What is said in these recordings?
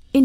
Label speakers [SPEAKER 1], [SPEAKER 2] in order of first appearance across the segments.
[SPEAKER 1] verscheen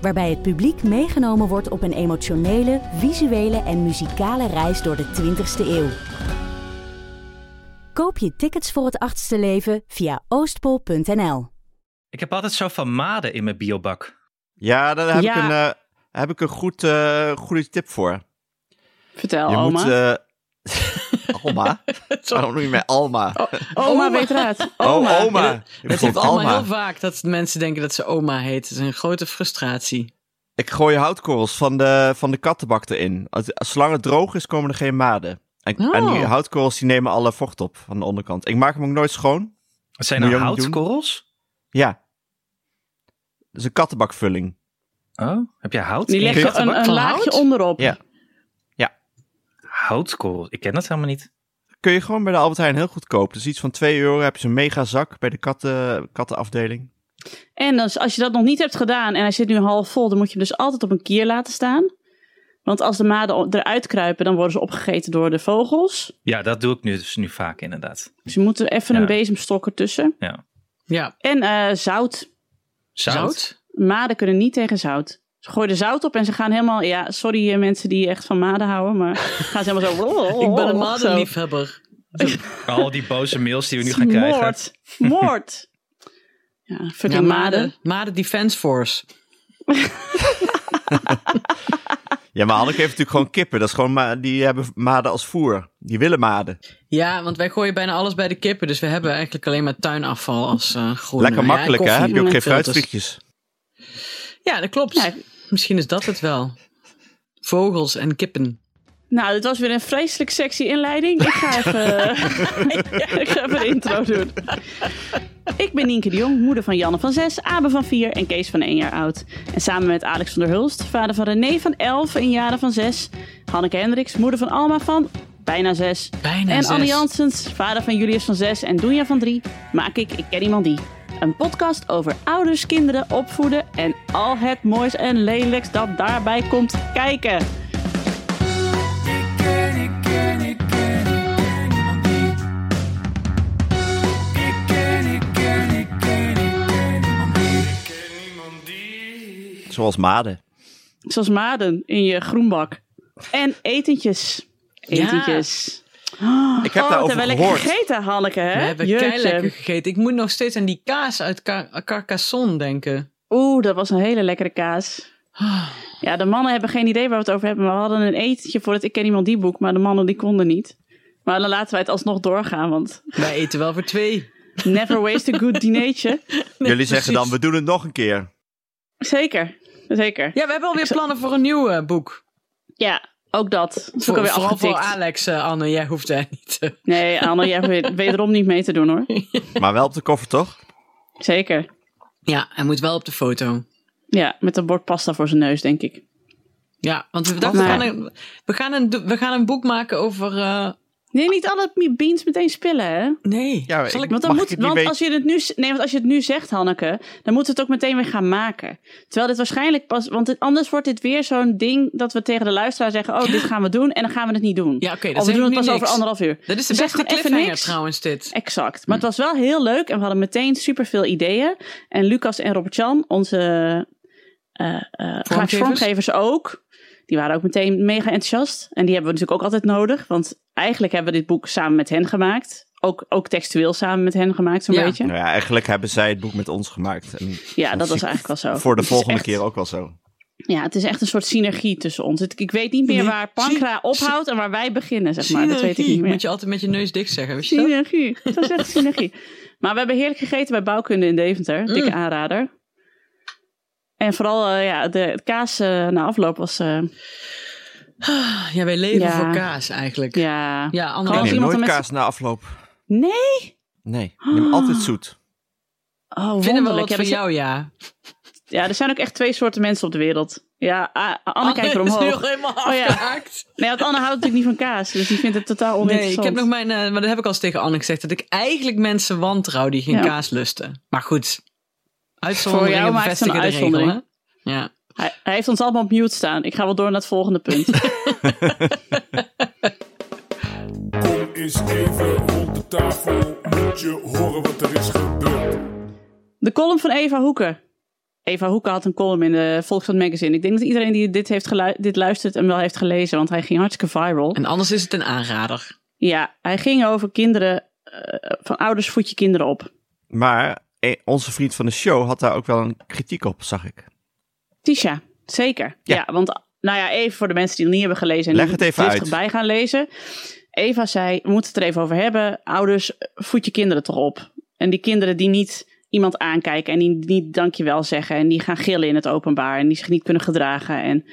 [SPEAKER 1] Waarbij het publiek meegenomen wordt op een emotionele, visuele en muzikale reis door de 20ste eeuw. Koop je tickets voor het achtste leven via oostpol.nl.
[SPEAKER 2] Ik heb altijd zo van maden in mijn biobak.
[SPEAKER 3] Ja, daar heb,
[SPEAKER 4] Ja.
[SPEAKER 3] Ik, een, eh, heb ik een goed, eh, goede tip voor.
[SPEAKER 4] Vertel,
[SPEAKER 3] je
[SPEAKER 4] oma.
[SPEAKER 3] moet... eh, Alma? Waarom noem je mij Alma?
[SPEAKER 4] Oma weet raad.
[SPEAKER 3] oma. Oh, oma.
[SPEAKER 5] Oh, Dat-
[SPEAKER 3] Ik
[SPEAKER 5] Dat
[SPEAKER 3] vond
[SPEAKER 5] heeft allemaal
[SPEAKER 3] Alma.
[SPEAKER 5] heel vaak dat mensen denken dat ze oma heet. Dat is een grote frustratie.
[SPEAKER 3] Ik gooi houtkorrels van de, van de kattenbak erin. Als- Zolang het droog is, komen er geen maden. En,
[SPEAKER 5] Oh.
[SPEAKER 3] en die houtkorrels die nemen alle vocht op van de onderkant. Ik maak hem ook nooit schoon.
[SPEAKER 2] Wat zijn
[SPEAKER 3] Moet
[SPEAKER 2] nou
[SPEAKER 3] je ook niet doen?
[SPEAKER 2] houtkorrels?
[SPEAKER 3] Ja. Dat is een kattenbakvulling.
[SPEAKER 2] Oh, heb jij hout?
[SPEAKER 4] Die
[SPEAKER 2] in je
[SPEAKER 4] legt
[SPEAKER 2] kattenbak?
[SPEAKER 4] een, een
[SPEAKER 5] Van
[SPEAKER 4] laagje
[SPEAKER 5] hout?
[SPEAKER 4] onderop.
[SPEAKER 3] Ja.
[SPEAKER 2] Houtkorrels, ik ken dat helemaal niet.
[SPEAKER 3] Kun je gewoon bij de Albert Heijn heel goed kopen. Dus iets van 2 euro heb je zo'n mega zak bij de katten, kattenafdeling.
[SPEAKER 4] En als, als je dat nog niet hebt gedaan en hij zit nu half vol, dan moet je hem dus altijd op een kier laten staan. Want als de maden o- eruit kruipen, dan worden ze opgegeten door de vogels.
[SPEAKER 2] Ja, dat doe ik nu, dus nu vaak inderdaad.
[SPEAKER 4] Dus je moet er even
[SPEAKER 2] Ja.
[SPEAKER 4] een bezemstok ertussen.
[SPEAKER 5] Ja,
[SPEAKER 4] En eh, zout.
[SPEAKER 2] Zout?
[SPEAKER 5] zout.
[SPEAKER 4] Maden kunnen niet tegen zout. Ze gooien er zout op en ze gaan helemaal... Ja, sorry eh, mensen die echt van maden houden, maar gaan ze helemaal zo...
[SPEAKER 5] Ik ben een
[SPEAKER 4] Oh, zo.
[SPEAKER 5] madenliefhebber.
[SPEAKER 2] Al die boze mails die we nu
[SPEAKER 4] Het
[SPEAKER 2] gaan
[SPEAKER 4] is
[SPEAKER 2] krijgen.
[SPEAKER 4] Moord. Moord. ja, fucking
[SPEAKER 5] Ja,
[SPEAKER 4] maden.
[SPEAKER 5] maden. Maden Defense Force.
[SPEAKER 3] Ja, maar Hanneke heeft natuurlijk gewoon kippen. Dat is gewoon ma- die hebben maden als voer. Die willen maden.
[SPEAKER 5] Ja, want wij gooien bijna alles bij de kippen. Dus we hebben eigenlijk alleen maar tuinafval als eh groene.
[SPEAKER 3] Lekker makkelijk,
[SPEAKER 5] ja,
[SPEAKER 3] hè?
[SPEAKER 5] koffie,
[SPEAKER 3] Heb je ook geen
[SPEAKER 5] filters.
[SPEAKER 3] fruitvliegjes.
[SPEAKER 5] Ja, dat klopt.
[SPEAKER 4] Ja.
[SPEAKER 5] Misschien is dat het wel. Vogels en kippen.
[SPEAKER 4] Nou, dit was weer een vreselijk sexy inleiding. Ik ga even, ik ga even een intro doen. Ik ben Nienke de Jong, moeder van Janne van 6, Abe van 4 en Kees van 1 jaar oud. En samen met Alex van der Hulst, vader van René van 11 en Jaren van 6. Hanneke Hendricks, moeder van Alma van bijna 6.
[SPEAKER 5] Bijna
[SPEAKER 4] en
[SPEAKER 5] zes.
[SPEAKER 4] Anne Janssens, vader van Julius van 6 en Doenja van 3, maak ik Ik Ken Iemand Die. Een podcast over ouders, kinderen, opvoeden en al het moois en lelijks dat daarbij komt kijken.
[SPEAKER 3] Zoals maden.
[SPEAKER 4] Zoals maden in je groenbak. En etentjes. Etentjes.
[SPEAKER 3] Ik heb
[SPEAKER 4] oh, wat
[SPEAKER 3] daarover
[SPEAKER 4] hebben we lekker
[SPEAKER 3] gehoord.
[SPEAKER 4] gegeten, Hanneke, hè?
[SPEAKER 5] We hebben
[SPEAKER 4] Jeetje.
[SPEAKER 5] lekker gegeten. Ik moet nog steeds aan die kaas uit Car- Carcassonne denken. Ah,
[SPEAKER 4] Oeh, dat was een hele lekkere kaas. Ja, de mannen hebben geen idee waar we het over hebben. Maar we hadden een etentje voor het Ik Ken Iemand Die boek. Maar de mannen die konden niet. Maar dan laten wij het alsnog doorgaan. Want
[SPEAKER 5] Wij eten wel voor twee.
[SPEAKER 4] never waste a good dinertje.
[SPEAKER 3] Jullie zeggen dan,
[SPEAKER 5] precies.
[SPEAKER 3] we doen het nog een keer.
[SPEAKER 4] Zeker, zeker.
[SPEAKER 5] Ja, we hebben alweer plannen voor een nieuw eh, boek.
[SPEAKER 4] Ja, ook dat. dat. is ook
[SPEAKER 5] Voor,
[SPEAKER 4] alweer
[SPEAKER 5] vooral voor
[SPEAKER 4] afgetikt.
[SPEAKER 5] Alex, eh, Anne. Jij hoeft daar niet. eh,
[SPEAKER 4] Nee, Anne, jij hebt wederom niet mee te doen hoor.
[SPEAKER 3] Maar wel op de koffer, toch?
[SPEAKER 4] Zeker.
[SPEAKER 5] Ja, hij moet wel op de foto.
[SPEAKER 4] Ja, met een bord pasta voor zijn neus, denk ik.
[SPEAKER 5] Ja, want we dachten, we
[SPEAKER 4] Maar-
[SPEAKER 5] gaan een, we, gaan een, do- we gaan een boek maken over... eh,
[SPEAKER 4] Nee, niet alle beans meteen spillen, hè?
[SPEAKER 5] nee,
[SPEAKER 3] Ja,
[SPEAKER 5] zal ik...
[SPEAKER 4] Want, dan
[SPEAKER 3] Mag ik
[SPEAKER 4] moet,
[SPEAKER 3] het niet
[SPEAKER 4] want
[SPEAKER 3] weten?
[SPEAKER 4] als je het nu, nee, want als je het nu zegt, Hanneke, dan moeten we het ook meteen weer gaan maken. Terwijl dit waarschijnlijk pas, want dit- anders wordt dit weer zo'n ding dat we tegen de luisteraar zeggen: Oh, dit gaan we doen, en dan gaan we het niet doen.
[SPEAKER 5] Ja, oké, dat
[SPEAKER 4] of we
[SPEAKER 5] zeg
[SPEAKER 4] doen het
[SPEAKER 5] ik nu
[SPEAKER 4] pas over
[SPEAKER 5] niks.
[SPEAKER 4] anderhalf uur. Dus
[SPEAKER 5] Dat is de
[SPEAKER 4] Zeg
[SPEAKER 5] beste
[SPEAKER 4] gewoon even
[SPEAKER 5] cliffhanger
[SPEAKER 4] niks.
[SPEAKER 5] trouwens dit.
[SPEAKER 4] Exact. Maar het was wel heel leuk en we hadden meteen superveel ideeën. En Lucas en Robert-Jan, onze eh, eh, grafisch vormgevers ook, die waren ook meteen mega enthousiast. En die hebben we natuurlijk ook altijd nodig, want eigenlijk hebben we dit boek samen met hen gemaakt. Ook, ook textueel samen met hen gemaakt, zo'n
[SPEAKER 5] Ja.
[SPEAKER 4] beetje.
[SPEAKER 3] Nou ja, eigenlijk hebben zij het boek met ons gemaakt. En
[SPEAKER 4] Ja, dat was eigenlijk wel zo.
[SPEAKER 3] voor de
[SPEAKER 4] Het is
[SPEAKER 3] volgende
[SPEAKER 4] echt-
[SPEAKER 3] keer ook wel zo.
[SPEAKER 4] Ja, het is echt een soort synergie tussen ons. Het- Ik weet niet meer
[SPEAKER 5] Nee,
[SPEAKER 4] waar Pankra
[SPEAKER 5] sy-
[SPEAKER 4] ophoudt en waar wij beginnen, zeg maar. Dat weet ik niet
[SPEAKER 5] Synergie.
[SPEAKER 4] meer.
[SPEAKER 5] Moet je altijd met je neus dicht zeggen, weet je dat?
[SPEAKER 4] Synergie. Dat is echt synergie. Maar we hebben heerlijk gegeten bij Bouwkunde in
[SPEAKER 5] Mm.
[SPEAKER 4] Deventer. Dikke aanrader. En vooral eh, ja, de het kaas eh, na afloop was... eh,
[SPEAKER 5] Ja, wij leven
[SPEAKER 4] Ja.
[SPEAKER 5] voor kaas eigenlijk. Ja,
[SPEAKER 4] ja. Als
[SPEAKER 5] Anne
[SPEAKER 3] Ik neem
[SPEAKER 5] Jan.
[SPEAKER 4] iemand
[SPEAKER 3] nooit
[SPEAKER 4] een mes-
[SPEAKER 3] kaas na afloop.
[SPEAKER 4] Nee?
[SPEAKER 3] Nee, ik neem altijd zoet.
[SPEAKER 4] Oh,
[SPEAKER 5] Vinden we
[SPEAKER 4] wonderlijk.
[SPEAKER 5] wat
[SPEAKER 4] Ja,
[SPEAKER 5] van
[SPEAKER 4] dat-
[SPEAKER 5] jou, ja.
[SPEAKER 4] Ja, er zijn ook echt twee soorten mensen op de wereld. Ja, A- A- Anne kijkt er
[SPEAKER 5] is nu
[SPEAKER 4] omhoog.
[SPEAKER 5] nog helemaal
[SPEAKER 4] Oh ja.
[SPEAKER 5] afgehaakt.
[SPEAKER 4] Nee, want Anne houdt natuurlijk niet van kaas. Dus die vindt het totaal
[SPEAKER 5] Nee,
[SPEAKER 4] oninteressant.
[SPEAKER 5] ik heb nog mijn, eh, maar dat heb ik al eens tegen Anne gezegd, dat ik eigenlijk mensen wantrouw die geen
[SPEAKER 4] Ja.
[SPEAKER 5] kaas lusten. Maar goed, uitzonderingen
[SPEAKER 4] maakt het een
[SPEAKER 5] bevestigen de regel, hè?
[SPEAKER 4] uitzondering.
[SPEAKER 5] Ja.
[SPEAKER 4] hij, hij heeft ons allemaal op mute staan. Ik ga wel door naar het volgende punt.
[SPEAKER 6] Kom eens even rond de tafel, moet je horen wat er is gebeurd.
[SPEAKER 4] De column van Eva Hoeken. Eva Hoeken had een column in de Volkskrant Magazine. Ik denk dat iedereen die dit, heeft gelu- dit luistert hem wel heeft gelezen. Want hij ging hartstikke viral.
[SPEAKER 5] En anders is het een aanrader.
[SPEAKER 4] Ja, hij ging over kinderen... eh, van ouders voed je kinderen op.
[SPEAKER 3] Maar eh, onze vriend van de show had daar ook wel een kritiek op, zag ik.
[SPEAKER 4] Tisha, zeker. Ja.
[SPEAKER 3] Ja.
[SPEAKER 4] want nou ja, even voor de mensen die het niet hebben gelezen en
[SPEAKER 3] Leg
[SPEAKER 4] die
[SPEAKER 3] het even
[SPEAKER 4] driftig
[SPEAKER 3] uit.
[SPEAKER 4] bij gaan lezen. Eva zei, we moeten het er even over hebben. Ouders, eh, voed je kinderen toch op. En die kinderen die niet iemand aankijken en die niet dankjewel zeggen en die gaan gillen in het openbaar en die zich niet kunnen gedragen. En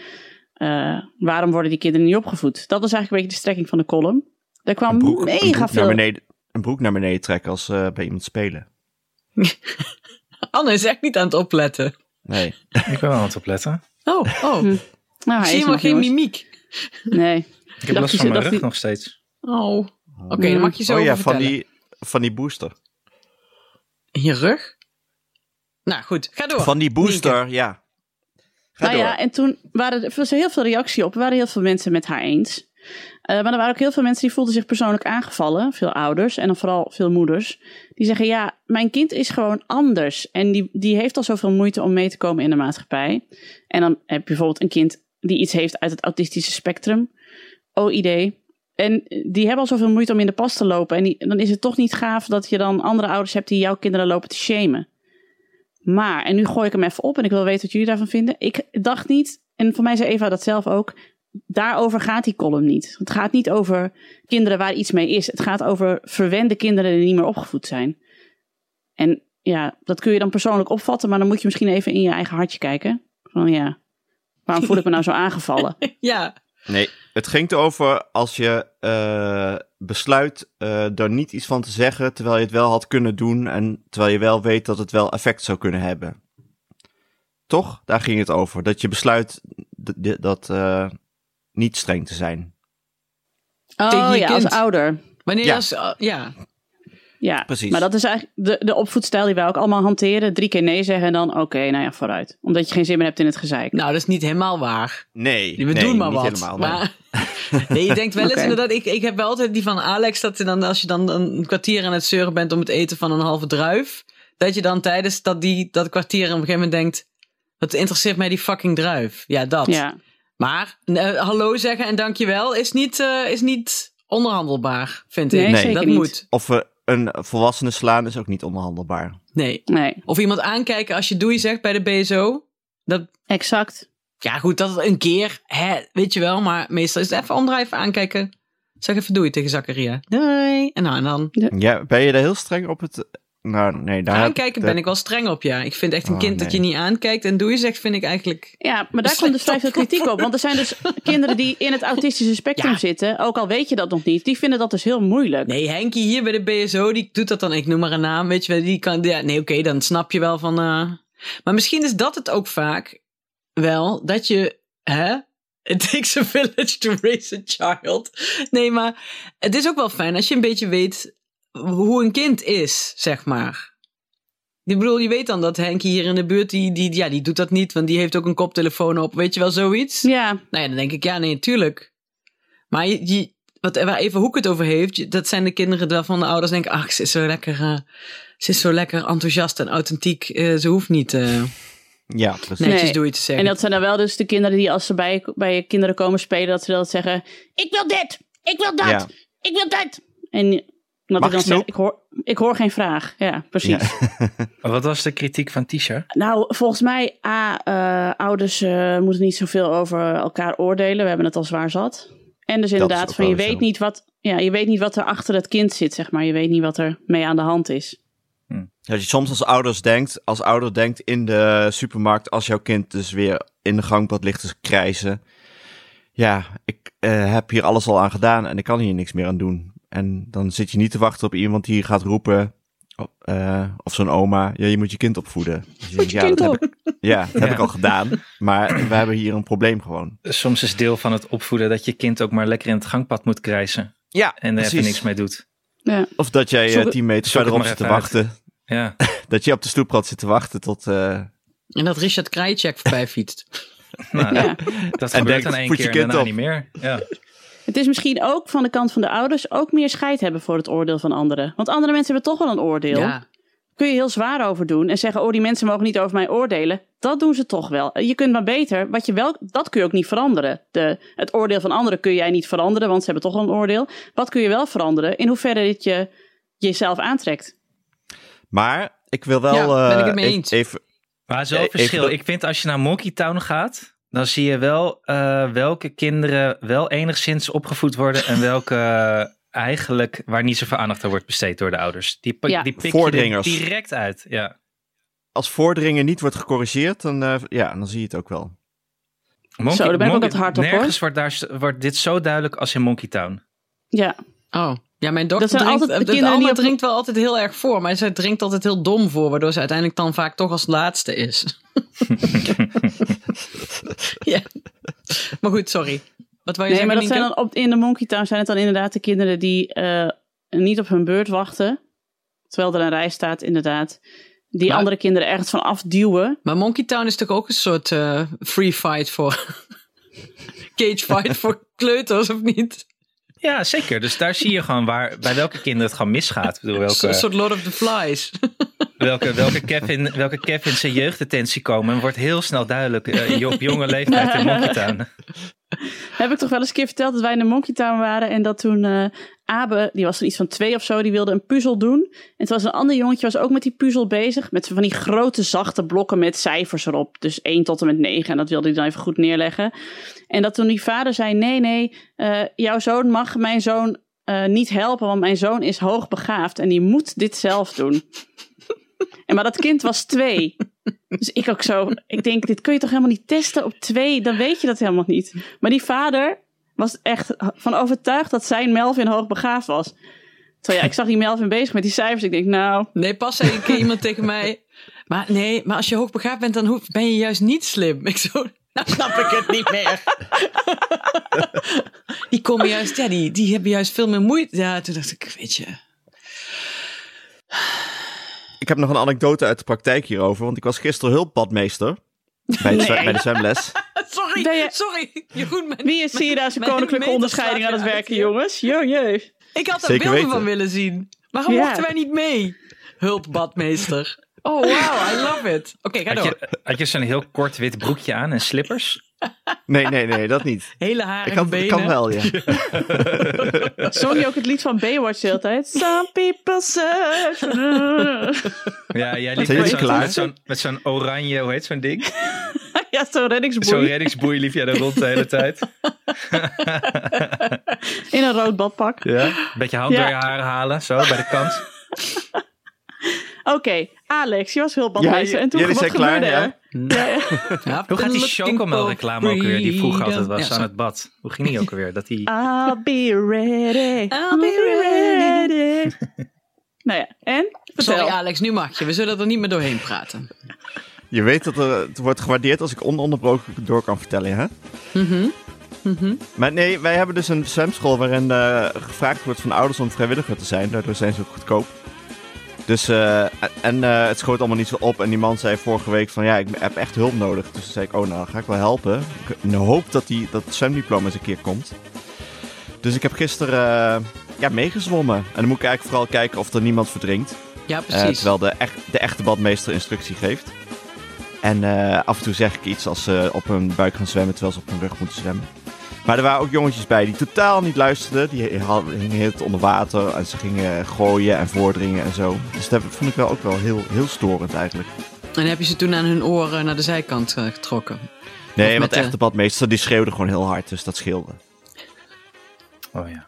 [SPEAKER 4] eh, waarom worden die kinderen niet opgevoed? Dat is eigenlijk een beetje de strekking van de column. Daar kwam
[SPEAKER 3] Een broek, een broek
[SPEAKER 4] mega
[SPEAKER 3] naar
[SPEAKER 4] veel.
[SPEAKER 3] beneden, een broek naar beneden trekken als eh, bij iemand spelen.
[SPEAKER 5] Anne is echt niet aan het opletten.
[SPEAKER 3] Nee.
[SPEAKER 2] Ik ben wel aan het opletten.
[SPEAKER 5] Oh, oh.
[SPEAKER 4] Nou, hij
[SPEAKER 5] Zie
[SPEAKER 4] is er
[SPEAKER 5] je maar
[SPEAKER 4] nog,
[SPEAKER 5] geen
[SPEAKER 4] jongens.
[SPEAKER 5] mimiek.
[SPEAKER 4] Nee.
[SPEAKER 2] Ik heb
[SPEAKER 4] Dacht
[SPEAKER 2] last
[SPEAKER 4] je-
[SPEAKER 2] van mijn
[SPEAKER 4] dacht
[SPEAKER 2] rug
[SPEAKER 4] je-
[SPEAKER 2] nog steeds.
[SPEAKER 5] Oh. Oké, dan mag je zo
[SPEAKER 3] oh ja,
[SPEAKER 5] over
[SPEAKER 3] van
[SPEAKER 5] vertellen.
[SPEAKER 3] die, van die booster.
[SPEAKER 5] In je rug? Nou goed, ga door.
[SPEAKER 3] Van die booster, ja. Ga
[SPEAKER 4] nou
[SPEAKER 3] door.
[SPEAKER 4] ja, en toen waren er, was er heel veel reactie op. Er waren heel veel mensen met haar eens. Eh, maar er waren ook heel veel mensen die voelden zich persoonlijk aangevallen. Veel ouders en dan vooral veel moeders. Die zeggen, ja, mijn kind is gewoon anders. En die, die heeft al zoveel moeite om mee te komen in de maatschappij. En dan heb je bijvoorbeeld een kind die iets heeft uit het autistische spectrum. OID. En die hebben al zoveel moeite om in de pas te lopen. En die- dan is het toch niet gaaf dat je dan andere ouders hebt die jouw kinderen lopen te shamen. Maar, en nu gooi ik hem even op en ik wil weten wat jullie daarvan vinden. Ik dacht niet, en voor mij zei Eva dat zelf ook, daarover gaat die column niet. Het gaat niet over kinderen waar iets mee is. Het gaat over verwende kinderen die niet meer opgevoed zijn. En ja, dat kun je dan persoonlijk opvatten, maar dan moet je misschien even in je eigen hartje kijken. Van ja, waarom voel ik me nou zo aangevallen?
[SPEAKER 5] Ja,
[SPEAKER 3] Nee, het ging erover als je eh, besluit eh daar niet iets van te zeggen, terwijl je het wel had kunnen doen en terwijl je wel weet dat het wel effect zou kunnen hebben. Toch? Daar ging het over. Dat je besluit d- d- dat eh, niet streng te zijn.
[SPEAKER 5] Tegen
[SPEAKER 4] Oh
[SPEAKER 5] je
[SPEAKER 4] ja,
[SPEAKER 5] kind.
[SPEAKER 4] als ouder.
[SPEAKER 5] wanneer
[SPEAKER 3] Ja.
[SPEAKER 5] als... ah, ja,
[SPEAKER 4] Ja,
[SPEAKER 3] Precies.
[SPEAKER 4] maar dat is eigenlijk de, de opvoedstijl die wij ook allemaal hanteren. Drie keer nee zeggen en dan oké, nou ja, vooruit. Omdat je geen zin meer hebt in het gezeik.
[SPEAKER 5] nou dat is niet helemaal waar.
[SPEAKER 3] Nee,
[SPEAKER 5] We
[SPEAKER 3] nee,
[SPEAKER 5] doen maar
[SPEAKER 3] niet
[SPEAKER 5] wat.
[SPEAKER 3] helemaal. nee.
[SPEAKER 5] maar, nee, je denkt wel eens
[SPEAKER 4] Oké.
[SPEAKER 5] inderdaad. Ik, ik heb wel altijd die van Alex dat je dan, als je dan een kwartier aan het zeuren bent om het eten van een halve druif, dat je dan tijdens dat, die, dat kwartier op een gegeven moment denkt: wat interesseert mij die fucking druif? Ja, dat.
[SPEAKER 4] ja.
[SPEAKER 5] Maar eh, hallo zeggen en dankjewel is niet, eh, is niet onderhandelbaar, vind ik.
[SPEAKER 4] Nee,
[SPEAKER 3] Nee. zeker
[SPEAKER 5] dat
[SPEAKER 4] niet.
[SPEAKER 5] moet.
[SPEAKER 3] Of we een volwassene slaan is ook niet onderhandelbaar.
[SPEAKER 5] Nee.
[SPEAKER 4] Nee,
[SPEAKER 5] Of iemand aankijken als je doei zegt bij de BSO. Dat,
[SPEAKER 4] exact.
[SPEAKER 5] ja, goed, dat een keer, hè, weet je wel, maar meestal is het even omdraaien, even aankijken. Zeg even doei tegen Zakaria. Doei. En, nou, en dan
[SPEAKER 3] Ja, ben je daar heel streng op het... Nou, nee, daar heb
[SPEAKER 5] aankijken ben ik wel streng op, ja. Ik vind echt een
[SPEAKER 3] Oh,
[SPEAKER 5] kind dat je
[SPEAKER 3] nee.
[SPEAKER 5] niet aankijkt en doei zegt, vind ik eigenlijk...
[SPEAKER 4] Ja, maar daar komt dus vrij veel kritiek op. Want er zijn dus kinderen die in het autistische spectrum
[SPEAKER 5] Ja.
[SPEAKER 4] zitten, ook al weet je dat nog niet, die vinden dat dus heel moeilijk.
[SPEAKER 5] Nee, Henkie hier bij de BSO, die doet dat dan, ik noem maar een naam, weet je wel. Die kan, ja, nee, oké, dan snap je wel van... eh. Maar misschien is dat het ook vaak wel, dat je, hè... It takes a village to raise a child. Nee, maar het is ook wel fijn als je een beetje weet hoe een kind is, zeg maar. Ik bedoel, je weet dan dat Henkie hier in de buurt, die, die, ja, die doet dat niet, want die heeft ook een koptelefoon op, weet je wel, zoiets.
[SPEAKER 4] Ja,
[SPEAKER 5] Nou ja, dan denk ik, ja, nee, tuurlijk. Maar je, je- wat, waar even Hoek het over heeft, je- dat zijn de kinderen waarvan de ouders denken, ach, ze is zo lekker, eh, ze is zo lekker enthousiast en authentiek. eh, ze hoeft niet eh,
[SPEAKER 3] Ja, precies.
[SPEAKER 5] netjes
[SPEAKER 4] Nee.
[SPEAKER 5] door je te
[SPEAKER 4] en
[SPEAKER 5] zeggen.
[SPEAKER 4] dat zijn dan wel dus de kinderen die als ze bij, bij je kinderen komen spelen, dat ze dat zeggen, ik wil dit, ik wil dat,
[SPEAKER 3] Ja.
[SPEAKER 4] ik wil dat. En dat
[SPEAKER 3] Mag ik
[SPEAKER 4] ik dan zeg,
[SPEAKER 3] snoep?
[SPEAKER 4] ik hoor, ik hoor geen vraag. Ja, precies.
[SPEAKER 3] Ja.
[SPEAKER 2] Maar Wat was de kritiek van Tisha?
[SPEAKER 4] Nou, volgens mij, A, eh, ouders eh, moeten niet zoveel over elkaar oordelen. We hebben het al zwaar zat. En dus
[SPEAKER 3] is
[SPEAKER 4] inderdaad,
[SPEAKER 3] ook
[SPEAKER 4] van je
[SPEAKER 3] wel
[SPEAKER 4] weet,
[SPEAKER 3] zo.
[SPEAKER 4] niet wat, ja, je weet niet wat er achter het kind zit, zeg maar. Je weet niet wat er mee aan de hand is.
[SPEAKER 3] Dat je soms als ouders denkt, als ouder denkt in de supermarkt, als jouw kind dus weer in de gangpad ligt te krijzen. Ja, ik eh, heb hier alles al aan gedaan en ik kan hier niks meer aan doen. En dan zit je niet te wachten op iemand die gaat roepen, Oh, eh, of zo'n oma. Ja, je moet je kind opvoeden. Dus je denkt,
[SPEAKER 4] je
[SPEAKER 3] ja,
[SPEAKER 4] kind
[SPEAKER 3] dat
[SPEAKER 4] op.
[SPEAKER 3] Heb ik, ja, dat heb
[SPEAKER 2] Ja.
[SPEAKER 3] ik al gedaan. Maar we hebben hier een probleem gewoon.
[SPEAKER 2] Soms is deel van het opvoeden dat je kind ook maar lekker in het gangpad moet krijsen.
[SPEAKER 3] Ja,
[SPEAKER 2] En er even niks mee doet.
[SPEAKER 4] Ja.
[SPEAKER 3] Of dat jij
[SPEAKER 4] Zoek
[SPEAKER 3] eh,
[SPEAKER 4] het-
[SPEAKER 3] teammates
[SPEAKER 2] zoek het
[SPEAKER 3] verderop
[SPEAKER 2] maar
[SPEAKER 3] zit te
[SPEAKER 2] even uit.
[SPEAKER 3] wachten.
[SPEAKER 2] Ja,
[SPEAKER 3] Dat je op de stoep had zitten wachten tot... eh,
[SPEAKER 5] En dat Richard Krajicek voorbij fietst.
[SPEAKER 2] nou,
[SPEAKER 4] Ja.
[SPEAKER 2] dat
[SPEAKER 3] En
[SPEAKER 2] gebeurt
[SPEAKER 3] denkt,
[SPEAKER 2] dan één
[SPEAKER 3] voed je
[SPEAKER 2] keer en
[SPEAKER 3] kind
[SPEAKER 2] daarna
[SPEAKER 3] op.
[SPEAKER 2] niet meer. Ja.
[SPEAKER 4] Het is misschien ook van de kant van de ouders ook meer scheid hebben voor het oordeel van anderen. Want andere mensen hebben toch wel een oordeel.
[SPEAKER 5] Ja.
[SPEAKER 4] Kun je heel zwaar over doen en zeggen: Oh, die mensen mogen niet over mij oordelen. Dat doen ze toch wel. Je kunt maar beter, wat je wel, dat kun je ook niet veranderen. De, het oordeel van anderen kun jij niet veranderen, want ze hebben toch al een oordeel. Wat kun je wel veranderen? In hoeverre dit je jezelf aantrekt.
[SPEAKER 3] Maar ik wil wel...
[SPEAKER 5] Ja, ben ik het
[SPEAKER 3] eh,
[SPEAKER 5] mee
[SPEAKER 3] even-
[SPEAKER 5] eens.
[SPEAKER 3] Even,
[SPEAKER 2] Maar zo'n
[SPEAKER 3] Eh,
[SPEAKER 2] verschil.
[SPEAKER 3] even-
[SPEAKER 2] Ik vind als je naar Monkey Town gaat, dan zie je wel eh, welke kinderen wel enigszins opgevoed worden en welke eh, eigenlijk waar niet zoveel aandacht aan wordt besteed door de ouders. Die, pik-
[SPEAKER 4] Ja.
[SPEAKER 2] die pik je er
[SPEAKER 3] Voordringers.
[SPEAKER 2] direct uit. Ja.
[SPEAKER 3] als voordringen niet wordt gecorrigeerd, dan, eh, ja, dan zie je het ook wel.
[SPEAKER 2] Monkey,
[SPEAKER 4] daar ben ik ook
[SPEAKER 2] Monkey-
[SPEAKER 4] wat hard op, hoor.
[SPEAKER 2] Nergens wordt, daar, wordt dit zo duidelijk als in Monkey Town.
[SPEAKER 4] Ja,
[SPEAKER 5] Oh. Ja, mijn dochter
[SPEAKER 4] Dat zijn
[SPEAKER 5] drinkt,
[SPEAKER 4] altijd de
[SPEAKER 5] de
[SPEAKER 4] kinderen
[SPEAKER 5] Alma
[SPEAKER 4] die op-
[SPEAKER 5] drinkt wel altijd heel erg voor, maar zij drinkt altijd heel dom voor, waardoor ze uiteindelijk dan vaak toch als laatste is. ja. Maar goed, sorry. Wat wou
[SPEAKER 4] nee,
[SPEAKER 5] je zeggen,
[SPEAKER 4] maar dat zijn
[SPEAKER 5] Nienke?
[SPEAKER 4] dan op, in de Monkey Town zijn het dan inderdaad de kinderen die eh, niet op hun beurt wachten. Terwijl er een rij staat, inderdaad. Die
[SPEAKER 5] Maar-
[SPEAKER 4] andere kinderen ergens van afduwen.
[SPEAKER 5] Maar Monkey Town is toch ook een soort eh, free fight voor... cage fight voor kleuters, of niet?
[SPEAKER 2] Ja, zeker. Dus daar zie je gewoon waar, bij welke kinderen het gewoon misgaat. Ik bedoel,
[SPEAKER 5] Een
[SPEAKER 2] welke,
[SPEAKER 5] soort Lord of the Flies.
[SPEAKER 2] welke, welke, Kevin, welke Kevin zijn jeugddetentie komen. En wordt heel snel duidelijk eh, op jonge leeftijd in Monkey Town.
[SPEAKER 4] Heb ik toch wel eens een keer verteld dat wij in de Monkey Town waren. En dat toen eh, Abe, die was dan iets van twee of zo, die wilde een puzzel doen. En toen was een ander jongetje was ook met die puzzel bezig. Met van die grote zachte blokken met cijfers erop. Dus 1 tot en met 9. En dat wilde hij dan even goed neerleggen. En dat toen die vader zei: Nee, nee, eh, jouw zoon mag mijn zoon eh, niet helpen, want mijn zoon is hoogbegaafd en die moet dit zelf doen. en maar dat kind was twee. Dus ik ook zo, ik denk, dit kun je toch helemaal niet testen op twee? Dan weet je dat helemaal niet. Maar die vader was echt van overtuigd dat zijn Melvin hoogbegaafd was. Terwijl ja, ik zag die Melvin bezig met die cijfers. Ik denk, nou,
[SPEAKER 5] Nee, pas zei een keer iemand tegen mij. Maar nee, maar als je hoogbegaafd bent, dan hoef- ben je juist niet slim. Ik zo, nou snap ik het niet meer. die komen juist, ja, die, die hebben juist veel meer moeite. Ja, toen dacht ik, weet je.
[SPEAKER 3] Ik heb nog een anekdote uit de praktijk hierover, want ik was gisteren hulpbadmeester bij, het zwe-
[SPEAKER 4] Nee.
[SPEAKER 3] bij de zwemles.
[SPEAKER 5] Sorry,
[SPEAKER 4] Ben je-
[SPEAKER 5] sorry. Jeroen, mijn-
[SPEAKER 4] wie is hier daar zijn
[SPEAKER 5] mijn
[SPEAKER 4] koninklijke
[SPEAKER 5] meter
[SPEAKER 4] onderscheiding aan
[SPEAKER 5] slaat
[SPEAKER 4] het
[SPEAKER 5] weer
[SPEAKER 4] werken,
[SPEAKER 5] uit, joh.
[SPEAKER 4] jongens? Jo, jee.
[SPEAKER 5] Ik had er
[SPEAKER 3] Zeker
[SPEAKER 5] beelden
[SPEAKER 3] weten.
[SPEAKER 5] van willen zien. Waarom
[SPEAKER 4] Ja.
[SPEAKER 5] mochten wij niet mee? Hulpbadmeester. Oh, wow, I love it. Oké, ga
[SPEAKER 2] Had
[SPEAKER 5] door.
[SPEAKER 2] je, had je zo'n heel kort wit broekje aan en slippers?
[SPEAKER 3] Nee, nee, nee, dat niet.
[SPEAKER 5] Hele haren
[SPEAKER 3] Ik kan,
[SPEAKER 5] benen.
[SPEAKER 3] ik kan wel, ja.
[SPEAKER 4] Zong je ook het lied van Baywatch de hele tijd? Some people search.
[SPEAKER 2] Ja, jij liep
[SPEAKER 3] Zijn
[SPEAKER 2] met
[SPEAKER 3] jullie
[SPEAKER 2] zo'n,
[SPEAKER 3] klaar?
[SPEAKER 2] met, zo'n, met zo'n oranje, hoe heet zo'n ding?
[SPEAKER 4] ja, zo'n
[SPEAKER 2] Zo'n
[SPEAKER 4] reddingsboei.
[SPEAKER 2] reddingsboei liep jij daar rond de hele tijd.
[SPEAKER 4] In een rood badpak.
[SPEAKER 2] Ja. Beetje hand
[SPEAKER 4] Ja.
[SPEAKER 2] door je haren halen, zo, bij de kant.
[SPEAKER 4] Oké, Alex, je was hulpbandmeester.
[SPEAKER 3] Ja,
[SPEAKER 4] en toen
[SPEAKER 3] jullie
[SPEAKER 4] wat
[SPEAKER 3] zijn klaar,
[SPEAKER 4] gebeurde
[SPEAKER 3] ja?
[SPEAKER 4] er? Ja, ja.
[SPEAKER 5] Ja,
[SPEAKER 2] Hoe gaat die
[SPEAKER 5] looking
[SPEAKER 2] chocomel-reclame
[SPEAKER 5] for
[SPEAKER 2] ook weer, die vroeger altijd
[SPEAKER 5] freedom?
[SPEAKER 2] was
[SPEAKER 5] Ja,
[SPEAKER 2] aan het bad? Hoe ging die ook weer? Dat
[SPEAKER 4] Ah.
[SPEAKER 2] die...
[SPEAKER 4] I'll be ready.
[SPEAKER 5] I'll be
[SPEAKER 4] ready. nou ja, en? Vertel.
[SPEAKER 5] Sorry Alex, nu mag je. We zullen er niet meer doorheen praten.
[SPEAKER 3] Je weet dat er, het wordt gewaardeerd als ik ononderbroken door kan vertellen, hè? Maar nee, wij hebben dus een zwemschool waarin eh, gevraagd wordt van ouders om vrijwilliger te zijn. Daardoor zijn ze ook goedkoop. Dus, eh, en eh, het schoot allemaal niet zo op. En die man zei vorige week van, ja, ik heb echt hulp nodig. Dus toen zei ik, oh, nou, dan ga ik wel helpen. Ik- In de hoop dat die, dat zwemdiploma eens een keer komt. Dus ik heb gisteren, eh, ja, meegezwommen. En dan moet ik eigenlijk vooral kijken of er niemand verdrinkt.
[SPEAKER 5] Ja,
[SPEAKER 3] Eh,
[SPEAKER 5] precies.
[SPEAKER 3] terwijl de, echt, de echte badmeester instructie geeft. En eh, af en toe zeg ik iets als ze op hun buik gaan zwemmen terwijl ze op hun rug moeten zwemmen. Maar er waren ook jongetjes bij die totaal niet luisterden. Die ha- hingen heel het onder water en ze gingen gooien en voordringen en zo. Dus dat vond ik wel ook wel heel, heel storend eigenlijk.
[SPEAKER 5] En heb je ze toen aan hun oren naar de zijkant eh, getrokken? Of
[SPEAKER 3] Nee,
[SPEAKER 5] met
[SPEAKER 3] want de
[SPEAKER 5] de-
[SPEAKER 3] echte badmeester die schreeuwde gewoon heel hard, dus dat scheelde.
[SPEAKER 2] Oh ja.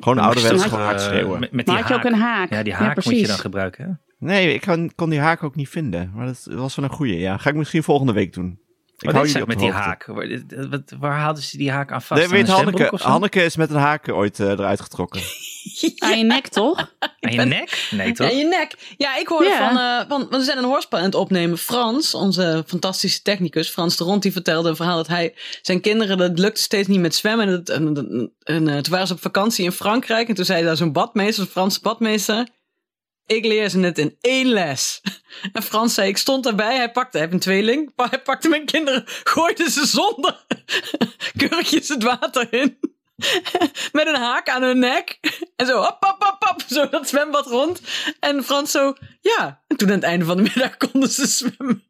[SPEAKER 3] Gewoon ouderwets
[SPEAKER 2] Met,
[SPEAKER 3] gewoon hard
[SPEAKER 2] eh,
[SPEAKER 3] schreeuwen.
[SPEAKER 2] Met, met die
[SPEAKER 4] Maar had je ook
[SPEAKER 2] haak.
[SPEAKER 4] een haak?
[SPEAKER 2] Ja, die haak moet je
[SPEAKER 4] precies.
[SPEAKER 2] dan gebruiken. hè?
[SPEAKER 3] Nee, ik kan- kon die haak ook niet vinden. Maar dat was wel een goeie, ja. Ga ik misschien volgende week doen. Ik
[SPEAKER 2] Wat
[SPEAKER 3] hou
[SPEAKER 2] is
[SPEAKER 3] jullie
[SPEAKER 2] dat
[SPEAKER 3] op
[SPEAKER 2] met
[SPEAKER 3] de
[SPEAKER 2] die
[SPEAKER 3] hoogte.
[SPEAKER 2] haak? Waar, dit- dit- wat- waar haalden ze die haak aan vast?
[SPEAKER 3] Nee,
[SPEAKER 2] Aan
[SPEAKER 3] weet
[SPEAKER 2] een zwembroek
[SPEAKER 3] Hanneke,
[SPEAKER 2] of zo?
[SPEAKER 3] Hanneke is met een haak ooit eh, eruit getrokken.
[SPEAKER 4] Aan je nek, toch?
[SPEAKER 2] Aan je nek? Nee, toch?
[SPEAKER 5] Ja, je nek. Ja, ik hoorde
[SPEAKER 4] Ja.
[SPEAKER 5] van, eh, van, want we zijn een hoorspel aan het opnemen. Frans, onze fantastische technicus, Frans de Rond, die vertelde een verhaal dat hij, zijn kinderen, dat lukte steeds niet met zwemmen. En, dat- en, en, en, eh, toen waren ze op vakantie in Frankrijk en toen zei daar zo'n badmeester, een Franse badmeester, ik leer ze net in één les. En Frans zei, ik stond daarbij, hij pakte, hij heeft een tweeling, maar hij pakte mijn kinderen, gooide ze zonder kurkjes het water in. Met een haak aan hun nek. En zo, hop, hop, hop, hop, zo dat zwembad rond. En Frans zo, ja. En toen aan het einde van de middag konden ze zwemmen.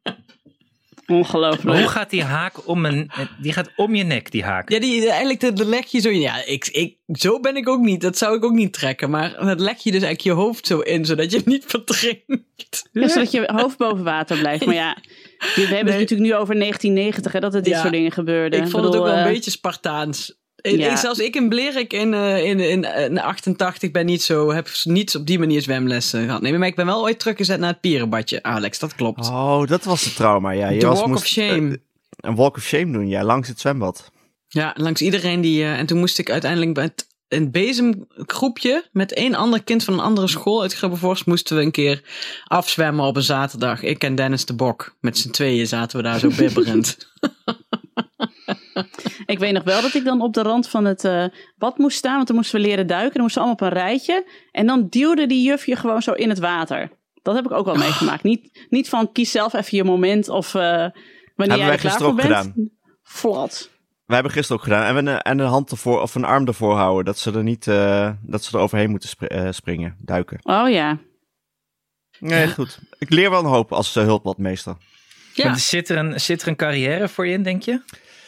[SPEAKER 2] Maar hoe
[SPEAKER 4] Ongelooflijk.
[SPEAKER 2] gaat die haak om een... Die gaat om je nek, die haak.
[SPEAKER 5] Ja, die, eh, eigenlijk dat leg je zo in. Ja, ik, ik, zo ben ik ook niet. Dat zou ik ook niet trekken. Maar dat leg je dus eigenlijk je hoofd zo in, zodat je het niet verdrinkt.
[SPEAKER 4] Ja, zodat je hoofd boven water blijft. Maar ja, we hebben het
[SPEAKER 5] Nee.
[SPEAKER 4] natuurlijk nu over 1990, hè, dat er dit
[SPEAKER 5] Ja.
[SPEAKER 4] soort dingen gebeurden.
[SPEAKER 5] Ik vond het ook
[SPEAKER 4] bedoel,
[SPEAKER 5] wel een
[SPEAKER 4] eh,
[SPEAKER 5] beetje Spartaans. Ik-
[SPEAKER 4] ja.
[SPEAKER 5] ik- zelfs ik in Blerik in, eh, in, in, in 88 ben niet zo, heb niet op die manier zwemlessen gehad. Nee, maar ik ben wel ooit teruggezet naar het pierenbadje, Alex. Dat klopt.
[SPEAKER 3] Oh, dat was het trauma. Ja, je
[SPEAKER 5] De
[SPEAKER 3] was,
[SPEAKER 5] walk
[SPEAKER 3] moest,
[SPEAKER 5] of shame.
[SPEAKER 3] eh, een walk of shame doen, ja, langs het zwembad.
[SPEAKER 5] Ja, langs iedereen die. eh, en toen moest ik uiteindelijk bij het, een bezemgroepje met één ander kind van een andere school uit Grubbevorst moesten we een keer afzwemmen op een zaterdag. Ik en Dennis de Bok. Met z'n tweeën zaten we daar zo bibberend.
[SPEAKER 4] eh, Ik weet nog wel dat ik dan op de rand van het eh, bad moest staan, want dan moesten we leren duiken. Dan moesten we allemaal op een rijtje. En dan duwde die juf je gewoon zo in het water. Dat heb ik ook wel
[SPEAKER 5] Oh.
[SPEAKER 4] meegemaakt. Niet, niet van kies zelf even je moment of eh,
[SPEAKER 3] wij
[SPEAKER 4] wanneer jij er klaar
[SPEAKER 3] gisteren
[SPEAKER 4] voor
[SPEAKER 3] ook
[SPEAKER 4] bent.
[SPEAKER 3] gedaan.
[SPEAKER 4] Flat.
[SPEAKER 3] We hebben gisteren ook gedaan. En, we een, en een hand ervoor, of een arm ervoor houden. Dat ze er niet, eh, dat ze er overheen moeten spri- eh, springen, duiken.
[SPEAKER 4] Oh ja.
[SPEAKER 3] Nee, goed. Ik leer wel een hoop als eh, hulpbadmeester.
[SPEAKER 5] Ja,
[SPEAKER 2] Want Zit, er een, zit er een carrière voor je in, denk je?